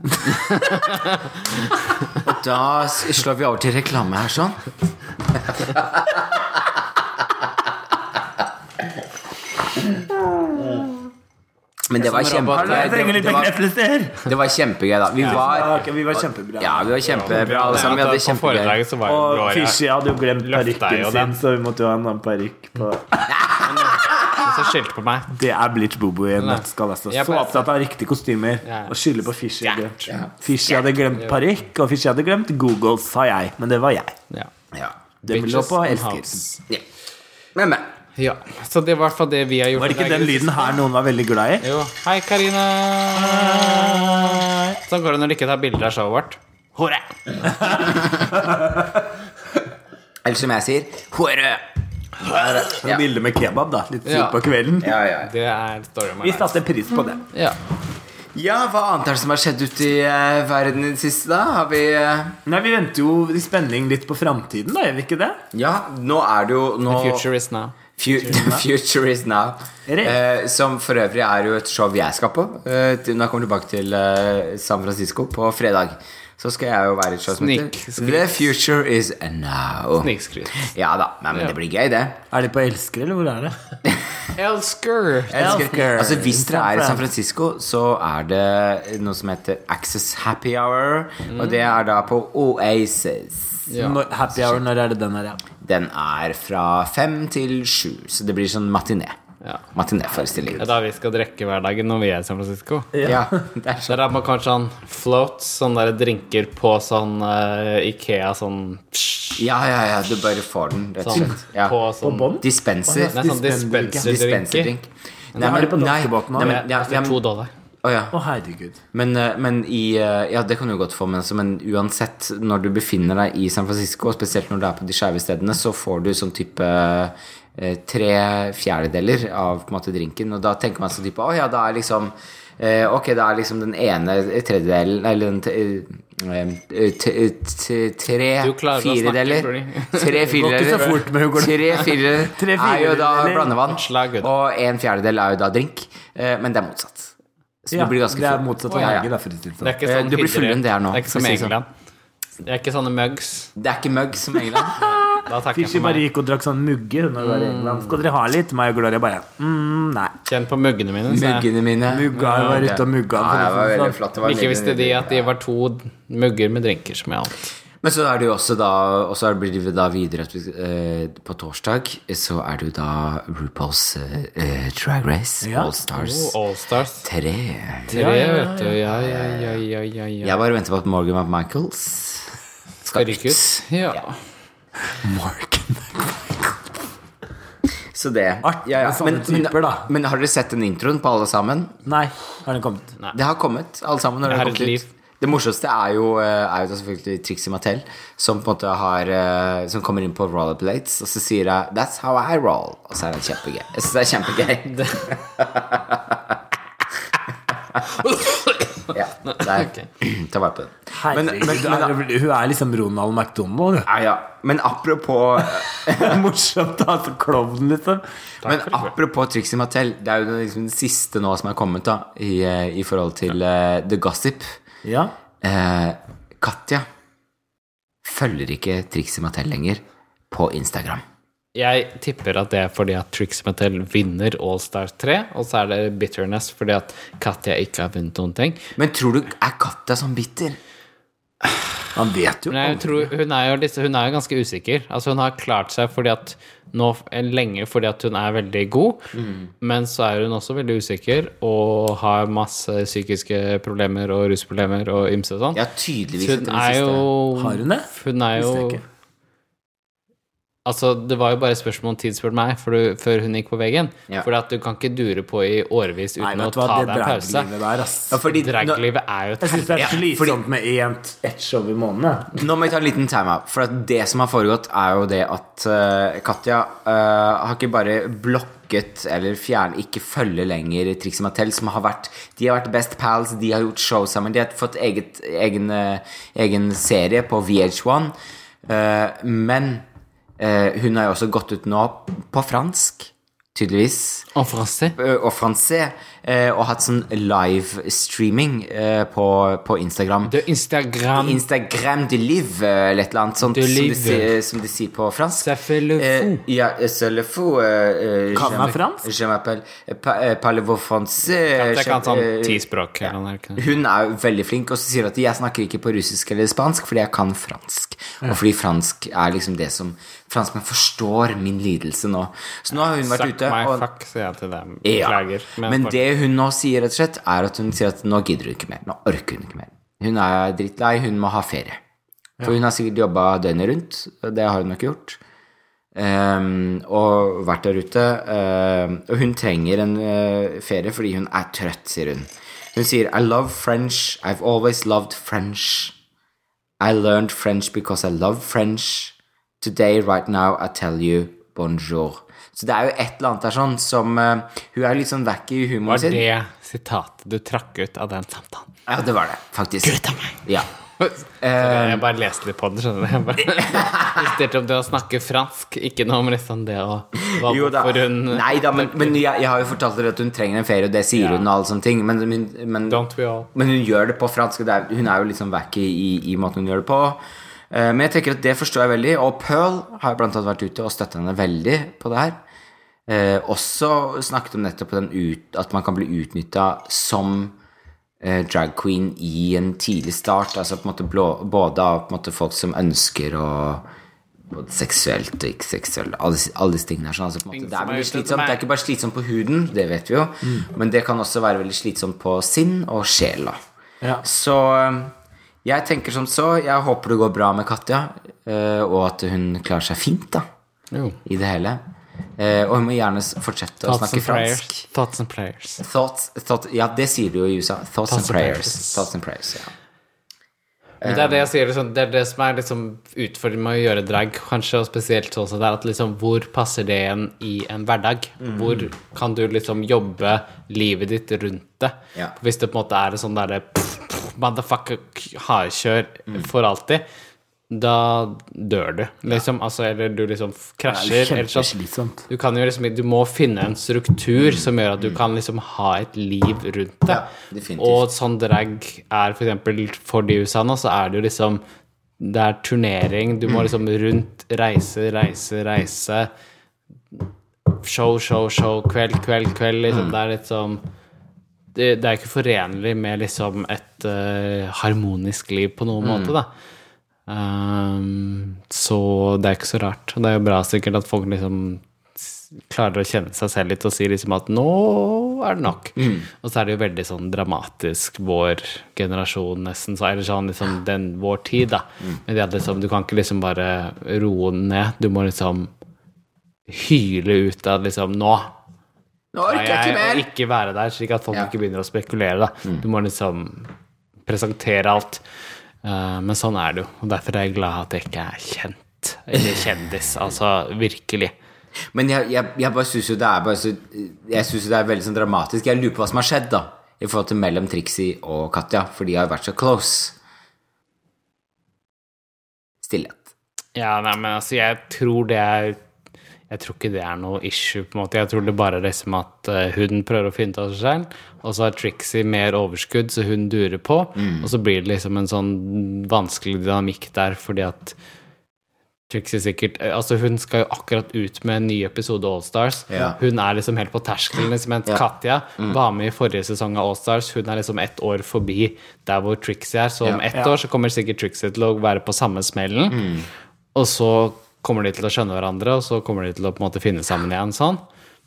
Speaker 4: Da s- slår vi over til reklame her, sånn. Men det var kjempe
Speaker 3: Jeg trenger
Speaker 4: det,
Speaker 3: litt
Speaker 4: det, var,
Speaker 3: bekreftelser!
Speaker 4: det var kjempegøy, da. Vi
Speaker 3: Ja,
Speaker 4: var
Speaker 3: ok, vi var kjempebra.
Speaker 4: Ja, vi var kjempebra alle sammen. Vi hadde
Speaker 1: eh,
Speaker 4: det
Speaker 1: På
Speaker 4: kjempegøy.
Speaker 1: foredraget så var jo
Speaker 3: Og
Speaker 1: Gloria
Speaker 3: Fishy hadde jo glemt
Speaker 1: Løfta
Speaker 3: parykken
Speaker 1: jo den.
Speaker 3: sin, så vi måtte jo ha en annen parykk på
Speaker 1: som skilte på meg.
Speaker 3: Det er Bleach Bobo i en nøttskall, altså.
Speaker 1: Jeg
Speaker 3: Så
Speaker 1: bare-
Speaker 3: opptatt av riktige kostymer.
Speaker 1: Ja.
Speaker 3: Og skylde på Fishy. Fishy hadde glemt parykk, og Fishy hadde glemt Googles, sa jeg. Men det var jeg.
Speaker 1: Ja.
Speaker 4: Ja.
Speaker 3: Dem lå
Speaker 1: Bitches
Speaker 3: på
Speaker 1: and
Speaker 3: elsker.
Speaker 1: hoes.
Speaker 4: Ja. Men, men.
Speaker 1: Ja, så det var i hvert fall det vi har gjort.
Speaker 3: Var det
Speaker 1: i
Speaker 3: ikke
Speaker 1: dag.
Speaker 3: den lyden her noen var veldig glad i?
Speaker 1: Jo. Hei, Karina. Sånn går det når du ikke tar bilder av showet vårt. Hore!
Speaker 4: Eller som jeg sier Hore!
Speaker 3: Ja. Bilde med kebab, da. Litt sent
Speaker 1: Ja.
Speaker 3: på kvelden.
Speaker 4: Ja, ja.
Speaker 1: Det er story of my
Speaker 3: Vi
Speaker 1: life.
Speaker 3: satte pris på det.
Speaker 1: Ja.
Speaker 4: ja, hva annet er det som har skjedd ute i eh, verden i det siste, da? Har vi eh,
Speaker 3: Nei, Vi venter jo i spenning litt på framtiden, da. Gjør vi ikke det?
Speaker 4: Ja, nå er det jo nå,
Speaker 1: Future is now.
Speaker 4: Fu- The Future is now.
Speaker 3: Er det?
Speaker 4: Eh, som for øvrig er jo et show jeg skal på. Eh, til- når jeg kommer tilbake til eh, San Francisco på fredag, så skal jeg jo være i et show som
Speaker 1: Snik-
Speaker 4: heter
Speaker 1: snik-
Speaker 4: The Future is now.
Speaker 1: Snikskryt.
Speaker 4: Ja da. Nei, men det blir gøy, det.
Speaker 3: Er de på Elsker, eller hvor er det?
Speaker 1: Elsker!
Speaker 4: Jeg elsker-
Speaker 3: Elsker.
Speaker 4: Altså Hvis dere er i
Speaker 3: San
Speaker 4: San Francisco, så er det noe som heter Access Happy Hour. Og det er da på Oasis.
Speaker 1: Ja.
Speaker 3: Når- Happy hour, når er det den her, ja?
Speaker 4: Den er fra fem til sju, så det blir sånn matiné.
Speaker 1: Ja.
Speaker 4: Matinéforestilling.
Speaker 1: Det er da vi skal drikke hver dag når vi er i San Francisco.
Speaker 4: Ja, det er
Speaker 1: Så
Speaker 4: sånn.
Speaker 1: der har man kanskje sånn floats, sånne der drinker på sånn eh, Ikea, sånn,
Speaker 4: Ja, ja, ja, du bare får den, rett og
Speaker 1: sånn
Speaker 4: slett. Ja.
Speaker 1: På sånn
Speaker 3: bånd?
Speaker 4: Dispenser.
Speaker 1: Nei, sånn
Speaker 3: Dispenserdrink, ja.
Speaker 1: dispenserdrinker.
Speaker 4: Dispenserdrink. Nei,
Speaker 3: har de
Speaker 4: men-
Speaker 3: på
Speaker 4: nei,
Speaker 3: danskebåten også.
Speaker 4: nei, men-
Speaker 1: Det
Speaker 4: ja, ja,
Speaker 1: koster to dollar.
Speaker 4: Å, ja.
Speaker 3: Å, herregud.
Speaker 4: Men, eh, men i eh, Ja, det kan du godt få, men, altså, men uansett, når du befinner deg i San Francisco, og spesielt når du er på de skeive stedene, så får du sånn type eh, tre fjerdedeler av på en måte drinken, og da tenker man sånn type Å ja, da er liksom eh, Ok, da er liksom den ene tredjedelen Eller den te- eh, eh, te- te- tre
Speaker 1: Du klarer å snakke,
Speaker 4: firedeler
Speaker 1: Bernie.
Speaker 4: Tre
Speaker 3: ikke så
Speaker 4: firedeler
Speaker 3: fort, men hun går-
Speaker 4: Tre firedeler
Speaker 3: Tre
Speaker 4: er jo da
Speaker 3: firedeler.
Speaker 4: blandevann,
Speaker 1: Slag ut.
Speaker 4: og en fjerdedel er jo da drink, eh, men det er motsatt. Så
Speaker 3: Ja,
Speaker 4: du blir ganske
Speaker 3: det er
Speaker 4: full.
Speaker 3: motsatt
Speaker 4: Ja,
Speaker 3: av
Speaker 4: ja.
Speaker 3: Norge, da, for å si
Speaker 1: Det
Speaker 3: det
Speaker 1: er
Speaker 3: sånn.
Speaker 1: ikke sånn
Speaker 4: Eh, du blir fullere enn det er nå,
Speaker 1: Det er ikke
Speaker 4: for
Speaker 1: som
Speaker 4: å si det sånn.
Speaker 1: England. Det er ikke sånne mugs.
Speaker 4: Det er ikke mugg som England.
Speaker 1: Da takker jeg
Speaker 3: Fishy
Speaker 1: for
Speaker 3: bare
Speaker 1: meg.
Speaker 3: gikk og drakk sånn mugge når hun var i England. Skal dere ha litt? Meg og Gloria bare mm, Nei.
Speaker 1: Kjenn på muggene mine. sa jeg.
Speaker 4: Muggene mine.
Speaker 3: Mugga jeg var ute og mugga.
Speaker 4: Ja, det
Speaker 3: for å si
Speaker 4: var
Speaker 3: det
Speaker 4: veldig
Speaker 3: sånn.
Speaker 4: flott. Det var
Speaker 1: Ikke
Speaker 4: veldig
Speaker 1: visste de
Speaker 4: nydelig.
Speaker 1: at de var to mugger med drinker som jeg alt.
Speaker 4: Men så er det jo også da Og så blir det jo da videre at vi, eh, på torsdag så er det jo da RuPaul's eh, eh, Drag Race,
Speaker 3: Ja.
Speaker 4: All Stars
Speaker 1: Oh, Allstars
Speaker 4: 3.
Speaker 1: tre, vet du. Ja, ja, ja, ja, ja, ja.
Speaker 4: Jeg bare venter på at Morgan McMichaels skal
Speaker 1: Ryk ut.
Speaker 4: ut.
Speaker 1: Ja.
Speaker 4: Så det.
Speaker 3: Artig med sånne
Speaker 4: Men, men,
Speaker 3: typer, da.
Speaker 4: men har dere sett den introen på alle sammen?
Speaker 3: Nei, har den kommet?
Speaker 4: Det har kommet, alle sammen. Når det,
Speaker 1: Det
Speaker 4: har
Speaker 1: er et
Speaker 4: kommet ut. det morsomste er jo, eh, er jo da selvfølgelig Trixie Mattel, som på en måte har eh, Som kommer inn på rollerblades, og så sier hun 'That's how I roll'. Og så er det kjempegøy. Jeg synes det er kjempegøy. ja, der. Ta vare på den. Men,
Speaker 3: Herregud,
Speaker 4: men, men,
Speaker 3: er det- hun er liksom Ronald McDonald. hun.
Speaker 4: ja, ja. men apropos
Speaker 3: Morsomt, altså. Klovn, liksom.
Speaker 4: Men apropos Trixie Mattel, det er jo den, liksom, den siste nå som er kommet da i, eh, i forhold til eh, The Gossip.
Speaker 3: Ja.
Speaker 4: Eh, Katja følger ikke Trixie Mattel lenger på Instagram.
Speaker 1: Jeg tipper at det er fordi at Trix Mattel vinner Allstars 3, og så er det bitterness fordi at Katja ikke har vunnet noen ting.
Speaker 4: Men tror du er Katja sånn bitter?
Speaker 3: Han vet jo
Speaker 1: Men jeg tror hun er jo, litt- hun er jo ganske usikker. Altså Hun har klart seg fordi at nå, lenge fordi at hun er veldig god,
Speaker 3: Mm.
Speaker 1: men så er hun også veldig usikker og har masse psykiske problemer og rusproblemer og ymse sånn.
Speaker 4: Ja, tydeligvis.
Speaker 1: Så
Speaker 4: etter
Speaker 1: hun
Speaker 4: det
Speaker 1: er
Speaker 4: siste.
Speaker 1: jo
Speaker 3: Har hun det?
Speaker 1: Hun er
Speaker 3: Visste
Speaker 1: jo
Speaker 3: jeg ikke.
Speaker 1: Altså, det var jo bare et spørsmål om tid, spør du meg, for du, før hun gikk på veggen.
Speaker 4: Ja.
Speaker 1: For at du kan ikke dure på i årevis uten
Speaker 3: Nei,
Speaker 1: å
Speaker 3: vet du
Speaker 1: ta
Speaker 3: hva, det
Speaker 1: deg en pause.
Speaker 3: draglivet der, ass.
Speaker 4: ja, fordi, nå,
Speaker 1: Draglivet er jo et
Speaker 3: Jeg syns det er
Speaker 4: Ja, fordi-
Speaker 3: slitsomt med ett et show i måneden.
Speaker 4: nå må vi ta en liten time-out. For at det som har foregått, er jo det at eh, Katja eh, har ikke bare blokket eller fjern, ikke følger lenger Trixie Mattel, som har vært De har vært best pals, de har gjort show sammen, de har fått eget, egen, eh, egen serie på VH1. eh, men eh, hun har jo også gått ut nå på fransk, tydeligvis.
Speaker 1: Enfrancé.
Speaker 4: eh, og fransé, eh, og hatt sånn livestreaming eh, på, på Instagram. Sånn
Speaker 1: Det er Instagram
Speaker 4: Instagram de live, eh, eller et eller annet sånt,
Speaker 1: De
Speaker 4: som, de
Speaker 1: live.
Speaker 4: sier, som de sier på fransk.
Speaker 1: Ça fait le
Speaker 4: Eh,
Speaker 1: fou.
Speaker 4: ja, c'est le fou. eh, eh,
Speaker 3: Kan
Speaker 4: je
Speaker 3: han
Speaker 4: m'app-
Speaker 3: fransk?
Speaker 4: Je m'appelle eh, pa- eh, Parlez-vous français?
Speaker 1: Jeg kan sånn
Speaker 4: eh,
Speaker 1: ti språk. eller noe, ikke?
Speaker 4: hun er jo veldig flink, og så sier hun at jeg snakker ikke på russisk eller spansk fordi jeg kan fransk. Og fordi fransk er liksom det som Franskmenn forstår min lidelse nå. Så nå har hun vært
Speaker 1: Suck
Speaker 4: ute
Speaker 1: my
Speaker 4: og
Speaker 1: fuck, sier jeg til dem.
Speaker 4: ja.
Speaker 1: Beklager.
Speaker 4: Men, det hun nå sier, rett og slett, er at hun sier at nå gidder hun ikke mer. Nå orker hun ikke mer. Hun er drittlei, hun må ha ferie. For hun har sikkert jobba døgnet rundt, og det har hun nok gjort. Ehm, og vært der ute. ehm, og hun trenger en eh, ferie fordi hun er trøtt, sier hun. Hun sier I love French. I've always loved French. I learned French because I love French. Today, right now, I tell you bonjour. Så det er jo et eller annet der sånn som eh, Hun er litt sånn wacky i humoren
Speaker 1: var
Speaker 4: sin.
Speaker 1: det sitatet du trakk ut av den samtalen.
Speaker 4: Ja, det var det, faktisk. Ja.
Speaker 1: Sorry, jeg bare leste litt på den, skjønner du. Jeg bare Justerte om det å snakke fransk, ikke noe om liksom det å hva
Speaker 4: Jo da.
Speaker 1: For hun
Speaker 4: Nei da, men, men jeg, jeg har jo fortalt dere at hun trenger en ferie, og det sier hun og alle sånne ting, men, men, men
Speaker 1: Don't we all?
Speaker 4: Men hun gjør det på fransk. og Det er, hun er jo litt sånn wacky i, i måten hun gjør det på. Eh, Men jeg tenker at det forstår jeg veldig. Og Pearl har blant annet vært ute og støtta henne veldig på det her. Eh, også snakket om nettopp den ut, at man kan bli utnytta som eh, drag queen i en tidlig start. Altså på en måte blå, både av på en måte folk som ønsker å både seksuelt og ikke seksuelt Alle, disse- alle disse tingene her. Sånn, altså på en måte,
Speaker 1: Ingen
Speaker 4: det er
Speaker 1: som er
Speaker 4: veldig
Speaker 1: ute etter
Speaker 4: slitsomt. Det
Speaker 1: meg.
Speaker 4: er ikke bare slitsomt på huden, det vet vi jo,
Speaker 1: Mm.
Speaker 4: men det kan også være veldig slitsomt på sinn og sjela.
Speaker 3: Ja.
Speaker 4: Så eh, jeg tenker som så. Jeg håper det går bra med Katja, eh, og at hun klarer seg fint, da
Speaker 1: Jo.
Speaker 4: i det hele. Eh, og hun må gjerne s- fortsette å
Speaker 1: Thoughts
Speaker 4: snakke
Speaker 1: and
Speaker 4: fransk.
Speaker 1: prayers. Thoughts and prayers.
Speaker 4: Thoughts, thought, ja, det sier de jo i USA. Thoughts, and
Speaker 1: and
Speaker 4: prayers.
Speaker 1: prayers.
Speaker 4: Thoughts and prayers, ja.
Speaker 1: Men det er
Speaker 4: Eh,
Speaker 1: det jeg sier, liksom, det er det som er liksom utfordringen med å gjøre drag, kanskje, og spesielt sånn som det er at liksom, hvor passer det igjen i en hverdag?
Speaker 4: Mm.
Speaker 1: Hvor kan du liksom jobbe livet ditt rundt det?
Speaker 4: Ja.
Speaker 1: Hvis det på en måte er en sånn derre pff, pff, motherfucker k- hardkjør
Speaker 4: Mm.
Speaker 1: for alltid, da dør du, liksom. Altså, eller du liksom f- krasjer, eller sånn.
Speaker 3: Kjempeslitsomt.
Speaker 1: Du, kan jo liksom, du må finne en struktur som gjør at du kan liksom ha et liv rundt det.
Speaker 4: Mm. Ja, definitivt.
Speaker 1: og sånn drag er for eksempel for de i USA nå, så er det jo liksom Det er turnering, du må liksom rundt, reise, reise, reise. Show, show, show, kveld, kveld, kveld. Liksom. Det er litt sånn det, det er ikke forenlig med liksom et eh, harmonisk liv på noen måte, da. Ehm, så det er ikke så rart. Og det er jo bra sikkert at folk liksom s- klarer å kjenne seg selv litt og si liksom at nå er det nok.
Speaker 4: Mm.
Speaker 1: Og så er det jo veldig sånn dramatisk vår generasjon, nesten. Så, eller sånn liksom den, vår tid, da.
Speaker 4: Mm.
Speaker 1: Men det at liksom, du kan ikke liksom bare roe den ned. Du må liksom hyle ut at liksom nå
Speaker 4: Nå orker
Speaker 1: og
Speaker 4: jeg ikke mer!
Speaker 1: ikke være der, slik at folk
Speaker 4: Ja. Mm.
Speaker 1: ikke begynner å spekulere. Da. Du må liksom presentere alt. Eh, men sånn er det jo, og derfor er jeg glad at jeg ikke er kjent. Eller kjendis, altså virkelig.
Speaker 4: Men jeg, jeg, jeg bare syns jo det er bare så, Jeg synes jo det er veldig sånn dramatisk. Jeg lurer på hva som har skjedd, da. I forhold til mellom Trixie og Katja, for de har jo vært så close. Stillhet.
Speaker 1: Ja, nei, men altså, jeg tror det er Jeg tror ikke det er noe issue, på en måte. Jeg tror det bare er liksom at eh, hun prøver å finne ut av seg selv, og så har Trixie mer overskudd, så hun durer på,
Speaker 4: Mm.
Speaker 1: og så blir det liksom en sånn vanskelig dynamikk der, fordi at Trixie sikkert eh, Altså, hun skal jo akkurat ut med en ny episode av Allstars.
Speaker 4: Ja. Mm.
Speaker 1: Hun er liksom helt på terskelen, liksom, mens Katja var med i forrige sesong av Allstars. Hun er liksom ett år forbi der hvor Trixie er, så om
Speaker 4: Ja. Mm.
Speaker 1: ett år så kommer sikkert Trixie til å være på samme smellen. Og så kommer de til å skjønne hverandre, og så kommer de til å på en måte finne sammen igjen. sånn.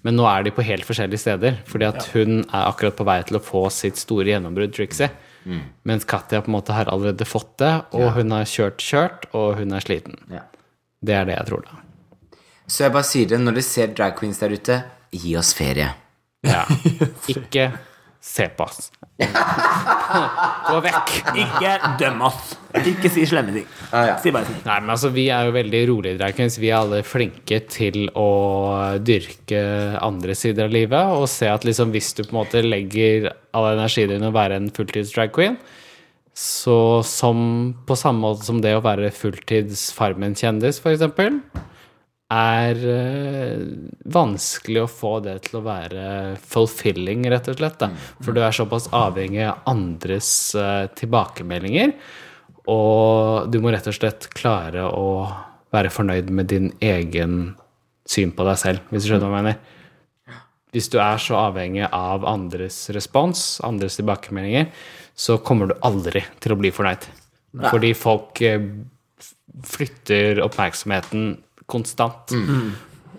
Speaker 1: Men nå er de på helt forskjellige steder, fordi at hun er akkurat på vei til å få sitt store gjennombrudd, Trixie. Mens Katja på en måte har allerede fått det, og hun har kjørt, kjørt, og hun er sliten. Det er det jeg tror, da.
Speaker 4: Så jeg bare sier det, når de ser drag queens der ute, gi oss ferie.
Speaker 1: Ja. Ikke se på oss. Gå vekk.
Speaker 3: Ikke døm oss. Ikke si slemme ting. Si bare sånn.
Speaker 1: Nei, men altså, vi er jo veldig rolige, Draukens. Vi er alle flinke til å dyrke andre sider av livet og se at liksom, hvis du på en måte legger all energien din i å være en fulltids drag queen, så som på samme måte som det å være fulltids Farmen-kjendis, for eksempel, er eh, vanskelig å få det til å være fulfilling, rett og slett. Da. For du er såpass avhengig av andres eh, tilbakemeldinger. Og du må rett og slett klare å være fornøyd med din egen syn på deg selv, hvis du skjønner hva jeg mener. Hvis du er så avhengig av andres respons, andres tilbakemeldinger, så kommer du aldri til å bli fornøyd. Fordi folk eh, f- flytter oppmerksomheten konstant.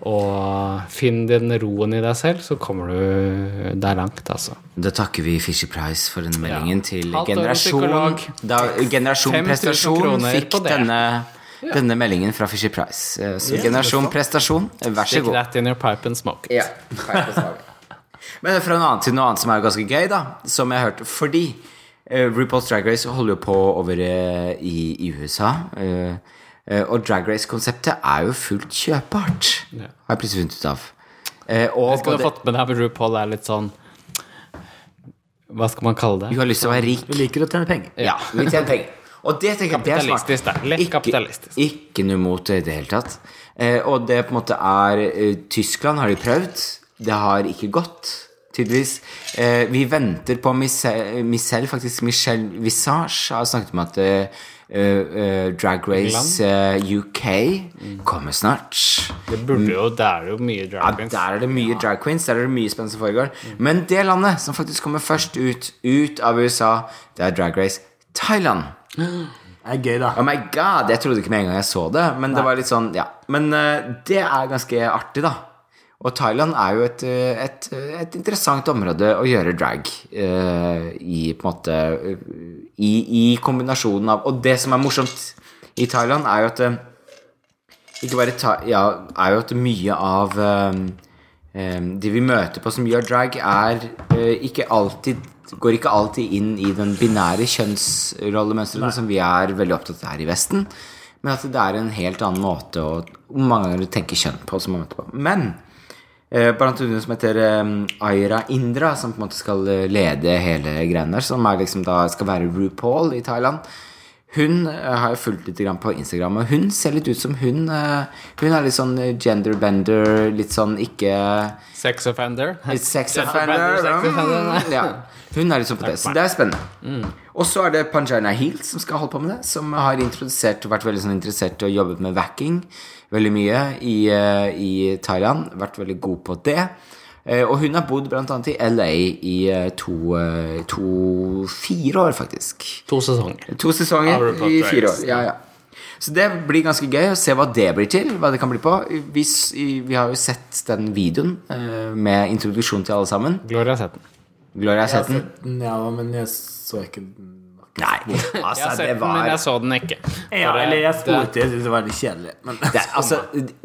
Speaker 1: Og finn den roen i deg selv, så kommer du deg langt, altså.
Speaker 4: Da takker vi Fisher Price for denne meldingen til
Speaker 1: Halvt år
Speaker 4: Generasjon.
Speaker 1: psykolog.
Speaker 4: Da, generasjon
Speaker 1: 5000
Speaker 4: Prestasjon
Speaker 1: kroner
Speaker 4: fikk
Speaker 1: på det.
Speaker 4: denne, denne meldingen fra Fisher Price. Eh, Så Generasjon Prestasjon, vær så
Speaker 1: Stick
Speaker 4: god.
Speaker 1: that in your pipe and smoke it.
Speaker 4: Ja, feil på slaget. Men fra noe annet til noe annet som er ganske gøy, da. Som jeg har hørt. Fordi eh, RuPaul's Drag Race holder jo på over eh, i, i USA. eh, eh, og Drag Race-konseptet er jo fullt kjøpbart, har jeg plutselig funnet ut av. Eh, og
Speaker 1: Skal du ha
Speaker 4: både,
Speaker 1: fått med deg med RuPaul er litt sånn Hva skal man kalle
Speaker 4: du
Speaker 1: det?
Speaker 4: har lyst til å være rik.
Speaker 3: Vi liker å tjene penger.
Speaker 4: Ja, vi tjener penger. Og det tenker jeg det er smart.
Speaker 1: Kapitalistisk, da. Lett kapitalistisk.
Speaker 4: Ikke, ikke noe mot det i det hele tatt. Eh, og det på en måte er eh, Tyskland har de prøvd. Det har ikke gått, tydeligvis. Eh, vi venter på Michelle, Michelle faktisk Michelle Visage har snakket om at eh, eh, Drag Race eh, UK kommer snart.
Speaker 1: Det burde jo Det er jo mye drag
Speaker 4: Ja,
Speaker 1: queens.
Speaker 4: der er det mye drag queens, der er det mye spennende som foregår. Men det landet som faktisk kommer først ut, ut av USA, det er Drag Race Thailand.
Speaker 3: Det er gøy, da.
Speaker 4: Oh my god, jeg trodde ikke med en gang jeg så det Men det var litt sånn, ja Men eh, det er ganske artig da Og Thailand er jo et, eh, et, eh, et interessant område å gjøre drag eh, I på en måte eh, i, I kombinasjonen av Og det som er morsomt i Thailand er jo at eh, Ikke bare ta, ja, er jo at mye av ehm, ehm, de vi møter på som gjør drag, er eh, ikke alltid Går ikke alltid inn i den binære kjønnsrollemønstrene som vi er veldig opptatt av her i Vesten. Men at det er en helt annen måte å mange ganger tenke kjønn på. som man møter på. Men eh, blant annet hun som heter eh, Aira Indra, som på en måte skal eh, lede hele greiene der, som er liksom da skal være RuPaul i Thailand. Hun eh, har jeg fulgt litt grann på Instagram, og hun ser litt ut som hun. eh, Hun er litt sånn eh, genderbender, litt sånn ikke
Speaker 1: Sex offender.
Speaker 4: litt Sex offender.
Speaker 1: Sex offender, Mm.
Speaker 4: mm, Ja. Hun er litt sånn på det, så det er spennende. Og så er det Panjana Heel som skal holde på med det, som har introdusert vært veldig sånn interessert i å jobbe med wacking veldig mye i, eh, i Thailand. Vært veldig god på det. Eh, Og hun har bodd bl.a. i LA i eh, to, eh, to fire år, faktisk.
Speaker 1: To sesonger.
Speaker 4: To
Speaker 1: Av
Speaker 4: sesonger
Speaker 1: RuPaul
Speaker 4: i
Speaker 1: Drag
Speaker 4: fire år.
Speaker 1: Race.
Speaker 4: Ja, ja. Så det blir ganske gøy å se hva det blir til. Hva det kan bli på. Vi, s- i- vi har jo sett den videoen eh, med introduksjon til alle sammen.
Speaker 1: Gloria har sett den.
Speaker 4: Gloria har sett den.
Speaker 3: Ja, men jeg så ikke den.
Speaker 4: Nei,
Speaker 1: Jeg
Speaker 4: altså,
Speaker 1: har sett
Speaker 4: det
Speaker 1: den, men
Speaker 4: var
Speaker 1: jeg så den ikke.
Speaker 3: Ja,
Speaker 1: For det-
Speaker 3: eller jeg
Speaker 1: det-
Speaker 3: spurte, jeg syntes det var litt kjedelig. Men
Speaker 4: det, altså,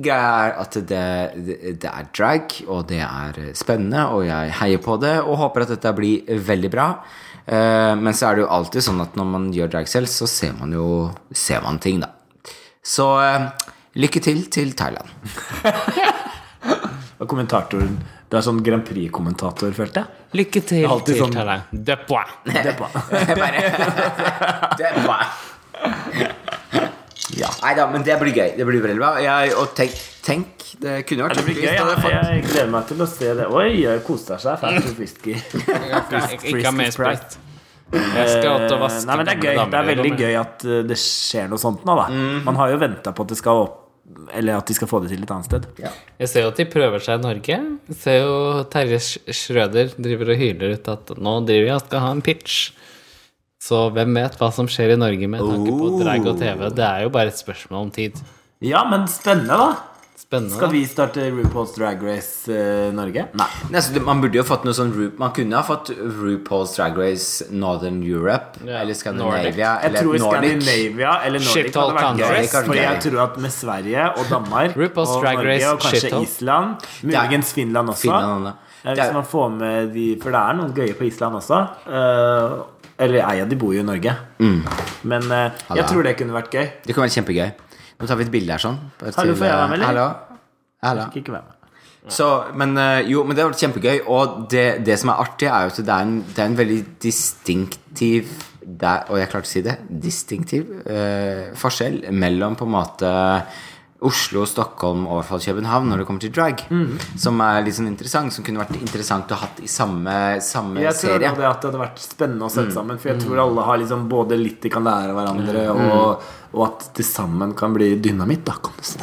Speaker 4: Greia er at det, det, det er drag, og det er spennende, og jeg heier på det og håper at dette blir veldig bra. Eh, men så er det jo alltid sånn at når man gjør drag selv, så ser man jo ser man ting, da. Så eh, lykke til til Thailand.
Speaker 3: Og kommentatoren Du er sånn Grand Prix-kommentator, følte jeg.
Speaker 1: Lykke til
Speaker 3: alltid
Speaker 1: til
Speaker 3: sånn-
Speaker 1: Thailand. Det er bra.
Speaker 3: Det er bra.
Speaker 4: Det er bra. Ja. Nei da, men det blir gøy. Det blir veldig bra. Jeg, og tenk, tenk, det kunne vært
Speaker 3: Det blir gøy.
Speaker 4: skikkelig hvis det hadde fått-
Speaker 3: Jeg, jeg gleder meg til å se det. Oi, jeg koser seg fælt med whisky.
Speaker 1: Ikke- Ikke ha mer
Speaker 3: Frisky Sprite.
Speaker 1: sprite. Jeg skal åt og vaske
Speaker 3: Nei, men det
Speaker 1: gamle
Speaker 3: er gøy.
Speaker 1: damer i
Speaker 3: Det er veldig
Speaker 1: rommet.
Speaker 3: gøy at eh, det skjer noe sånt nå, da. Man har jo venta på at det skal opp eller at de skal få det til et annet sted.
Speaker 1: Jeg ser jo at de prøver seg i Norge. Jeg ser jo Terje Sch- Schrøder driver og hyler ut at nå driver jeg og skal ha en pitch. Så hvem vet hva som skjer i Norge med tanke på
Speaker 3: Oh.
Speaker 1: drag og TV. Det er jo bare et spørsmål om tid.
Speaker 3: Ja, men spennende, da. Skal
Speaker 1: Spennende.
Speaker 3: vi starte RuPaul's Drag Race eh, Norge? Nei.
Speaker 4: Nei, så det- man burde jo fått noe sånn Ru- Man kunne ha fått RuPaul's Drag Race Northern Europe
Speaker 1: Ja.
Speaker 4: eller Scandinavia.
Speaker 3: Jeg
Speaker 4: eller
Speaker 3: tror
Speaker 4: Nordic.
Speaker 3: Skandinavia eller Nordic
Speaker 1: Shithole
Speaker 3: hadde vært
Speaker 1: country.
Speaker 3: gøy. Fordi jeg
Speaker 4: Country.
Speaker 3: tror at med Sverige og Danmark
Speaker 1: RuPaul's
Speaker 3: og
Speaker 1: Drag Race,
Speaker 3: Norge og kanskje
Speaker 1: shithole.
Speaker 3: Island, muligens Finland også
Speaker 4: Finland, ja.
Speaker 3: Ja,
Speaker 4: Det
Speaker 3: Hvis
Speaker 4: er-
Speaker 3: man får med de For det er noen gøye på Island også. Eh, eller ei av de bor jo i Norge. Men eh, jeg
Speaker 4: Mm. Halla.
Speaker 3: tror det kunne vært gøy.
Speaker 4: Det kan være kjempegøy. Nå tar vi et bilde her sånn. Bare
Speaker 3: Hallo,
Speaker 4: til,
Speaker 3: får
Speaker 4: eh,
Speaker 3: jeg være med, eller?
Speaker 4: Hallo? Hallo.
Speaker 3: Fikk Ikke være med.
Speaker 4: Så, men eh, jo, men det har vært kjempegøy. Og det, det som er artig, er jo at det er en, det er en veldig distinktiv der, Og jeg klarte å si det. Distinktiv eh, forskjell mellom på en måte Oslo, Stockholm og i hvert fall København når det kommer til drag.
Speaker 3: Mm.
Speaker 4: Som er litt sånn interessant, som kunne vært interessant å hatt i samme, samme
Speaker 3: Jeg tror
Speaker 4: serie. Mm.
Speaker 3: det at det hadde vært spennende å sette sammen.
Speaker 1: Mm.
Speaker 3: For jeg tror alle har liksom både litt de kan lære av hverandre, og,
Speaker 4: Mm.
Speaker 3: og at det sammen kan bli dynamitt. Da kan du si.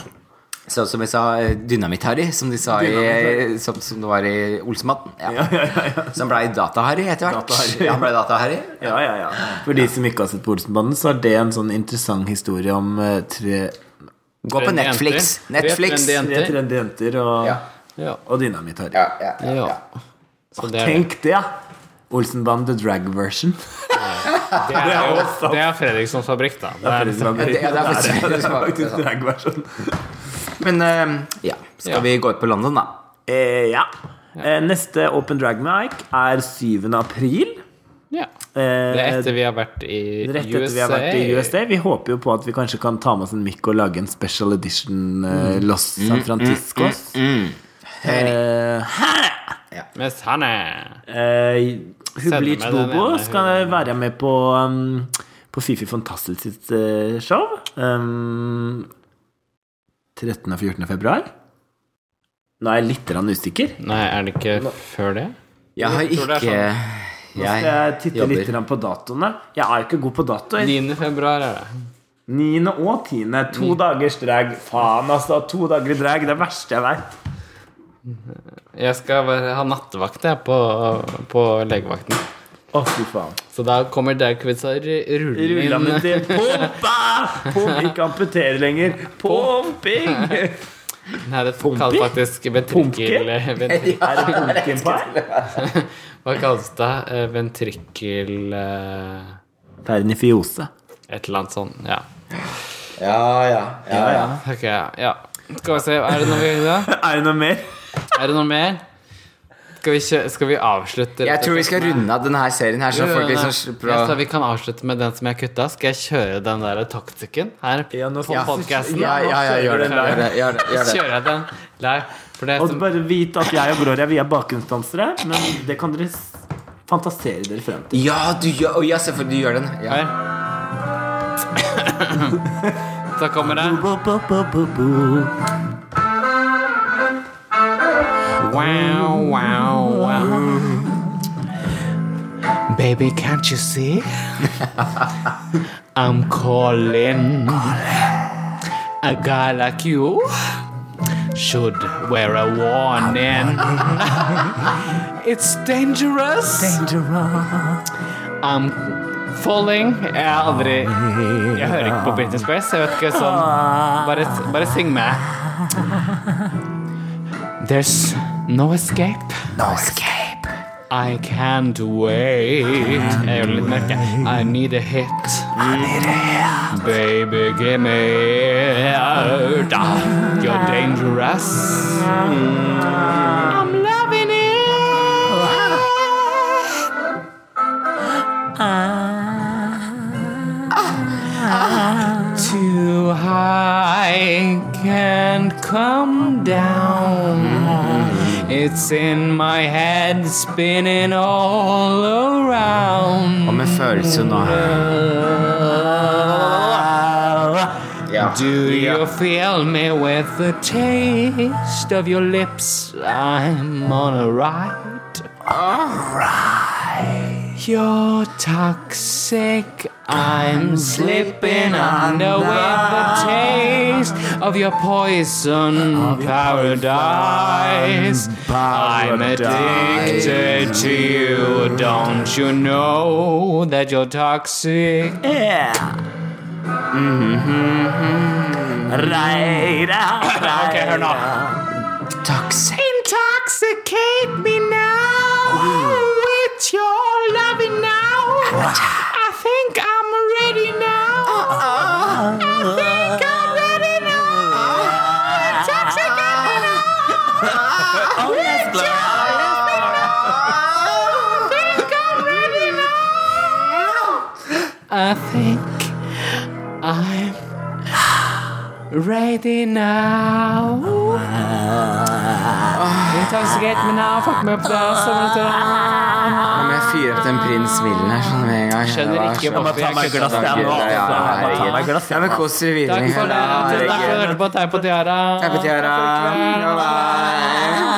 Speaker 4: Så som jeg sa, eh, dynamitt-Harry, som de sa i,
Speaker 3: Dynamitt-Harry.
Speaker 4: som, som det var i Olsematten. Ja.
Speaker 3: Ja, ja, ja, ja.
Speaker 4: Som blei Data-Harry etter hvert.
Speaker 3: Data-Harry.
Speaker 4: Han ble Data-Harry.
Speaker 3: Ja, ja, ja. For de som ikke har sett på Olsenbanden, så er det en sånn interessant historie om eh, tre,
Speaker 4: Gå på
Speaker 1: Trendy
Speaker 4: Netflix.
Speaker 1: jenter.
Speaker 4: Netflix.
Speaker 1: Trendy jenter.
Speaker 3: tre trendy jenter og,
Speaker 4: Ja.
Speaker 1: Ja.
Speaker 3: og dynamitt her.
Speaker 4: Ja, ja, ja, ja.
Speaker 1: ja. Så det er,
Speaker 3: Tenk det, ja! Olsenbanden the drag version.
Speaker 1: det er, jo, det er Fredrikssons fabrikk, da. Det er,
Speaker 3: Ja,
Speaker 4: det- ja, det er faktisk-
Speaker 3: det
Speaker 4: det er
Speaker 3: faktisk
Speaker 4: sant.
Speaker 3: drag version.
Speaker 4: Men eh, ja, skal
Speaker 1: Ja.
Speaker 4: vi gå ut på London, da?
Speaker 3: Eh, ja. Eh, neste Open Drag Mic er 7. april.
Speaker 1: ja.
Speaker 3: Eh,
Speaker 1: det er etter vi har vært i
Speaker 3: Rett etter vi har vært i USA. Vi håper jo på at vi kanskje kan ta med oss en mikk og lage en special edition eh, Los San Franciscos. Eh,
Speaker 1: Mens han er
Speaker 3: Eh,
Speaker 1: Sender
Speaker 3: hun
Speaker 1: meg
Speaker 3: blir
Speaker 1: den
Speaker 3: Bobo
Speaker 1: ene,
Speaker 3: skal være med på, um, på Fifi Fantastisk sitt eh, show. Um, 13. og 14. februar. Nå er jeg litt grann usikker.
Speaker 1: Nei, er det ikke før det?
Speaker 4: Jeg har
Speaker 1: tror det er sånn.
Speaker 4: ikke
Speaker 3: Nå skal jeg
Speaker 4: Jeg
Speaker 3: titte litt
Speaker 4: jobber.
Speaker 3: grann på datoene. Jeg er jo ikke god på datoer.
Speaker 1: 9. februar er det.
Speaker 3: 9. og 10. To dagers drag. Faen, altså. To dager i drag. Det er det verste jeg veit.
Speaker 1: Jeg skal være, ha nattevakt jeg, på, på legevakten.
Speaker 3: Å, fy faen.
Speaker 1: Så da kommer Daukvitsa rullende
Speaker 3: Rullende
Speaker 1: inn.
Speaker 3: til Pumpa! Pump ikke amputere lenger. Pumping!
Speaker 1: Nei, det kalles faktisk ventrikkel... ventrik-
Speaker 3: Er det pumpkin pie?
Speaker 1: Hva kalles det? Eh, Ventrikkel eh,
Speaker 3: Pernifiose.
Speaker 1: Et eller annet sånt. Ja.
Speaker 4: Ja, ja. ja, ja.
Speaker 1: Ok, ja. Skal vi se, er det noe vi da?
Speaker 3: Er det noe mer?
Speaker 1: Er det noe mer? Skal vi, kjø skal vi avslutte?
Speaker 4: Jeg tror vi skal runde av denne her serien her, så folk liksom slipper
Speaker 1: Jeg sa
Speaker 4: å
Speaker 1: vi kan avslutte med den som jeg kutta. Skal jeg kjøre den der taktikken her
Speaker 3: Ja, nå-
Speaker 1: på
Speaker 3: Ja.
Speaker 1: podcasten?
Speaker 4: Ja, ja, ja, gjør det. Gjør det. Gjør det, gjør det.
Speaker 1: Kjører jeg den live? For det
Speaker 3: Og
Speaker 1: som,
Speaker 3: bare vit at jeg og Gloria vi er bakgrunnsdansere, men det kan dere s- fantasere dere frem til.
Speaker 4: Ja, du gjør, å, ja, selvfølgelig du gjør den. Ja.
Speaker 1: her. Så kommer det.
Speaker 3: Bo, bo, bo, bo, bo.
Speaker 1: Wow, wow, wow. Baby, can't you see? I'm calling. A guy like you should wear a warning. it's dangerous. Dangerous. I'm falling. Jeg har aldri Jeg hører ikke på Britney Spears. Jeg vet ikke sånn Bare, bare syng med. There's no escape. No escape. I can't wait. Jeg gjør det litt mørke. I need a hit. Baby, give me out. You're dangerous. I'm loving it. Too high can't come down. It's in my head, spinning all around.
Speaker 4: Og med følelser nå her. Ja.
Speaker 1: Do you feel me with the taste of your lips? I'm on a ride. Alright. You're toxic. I'm slipping under with the taste of your poison paradise. I'm addicted to you. Don't you know that you're toxic?
Speaker 3: Mm-hmm.
Speaker 1: Okay, hør nå. Intoxicate me now with your loving now. I think I'm ready now. I think I'm ready now. Intoxicate me now. With your loving now. I think I'm ready now. I think I'm ready now. Intoxicate me now, fuck me opp der. sånn at det-
Speaker 4: Om jeg fyrer opp den prins-smilen her sånn med en gang
Speaker 1: Skjønner
Speaker 4: Ja,
Speaker 1: ikke
Speaker 4: skjønner.
Speaker 1: hvorfor jeg kutter den.
Speaker 4: Ja,
Speaker 3: nå.
Speaker 4: ja, ja,
Speaker 3: Jeg må ta meg
Speaker 4: herregud.
Speaker 3: glass.
Speaker 4: Ja, men kos dere videre.
Speaker 1: Takk for det. Takk for at du
Speaker 4: Herregud.
Speaker 1: hørte på Teip og Tiara.
Speaker 4: Takk for tiara. Ja, bye.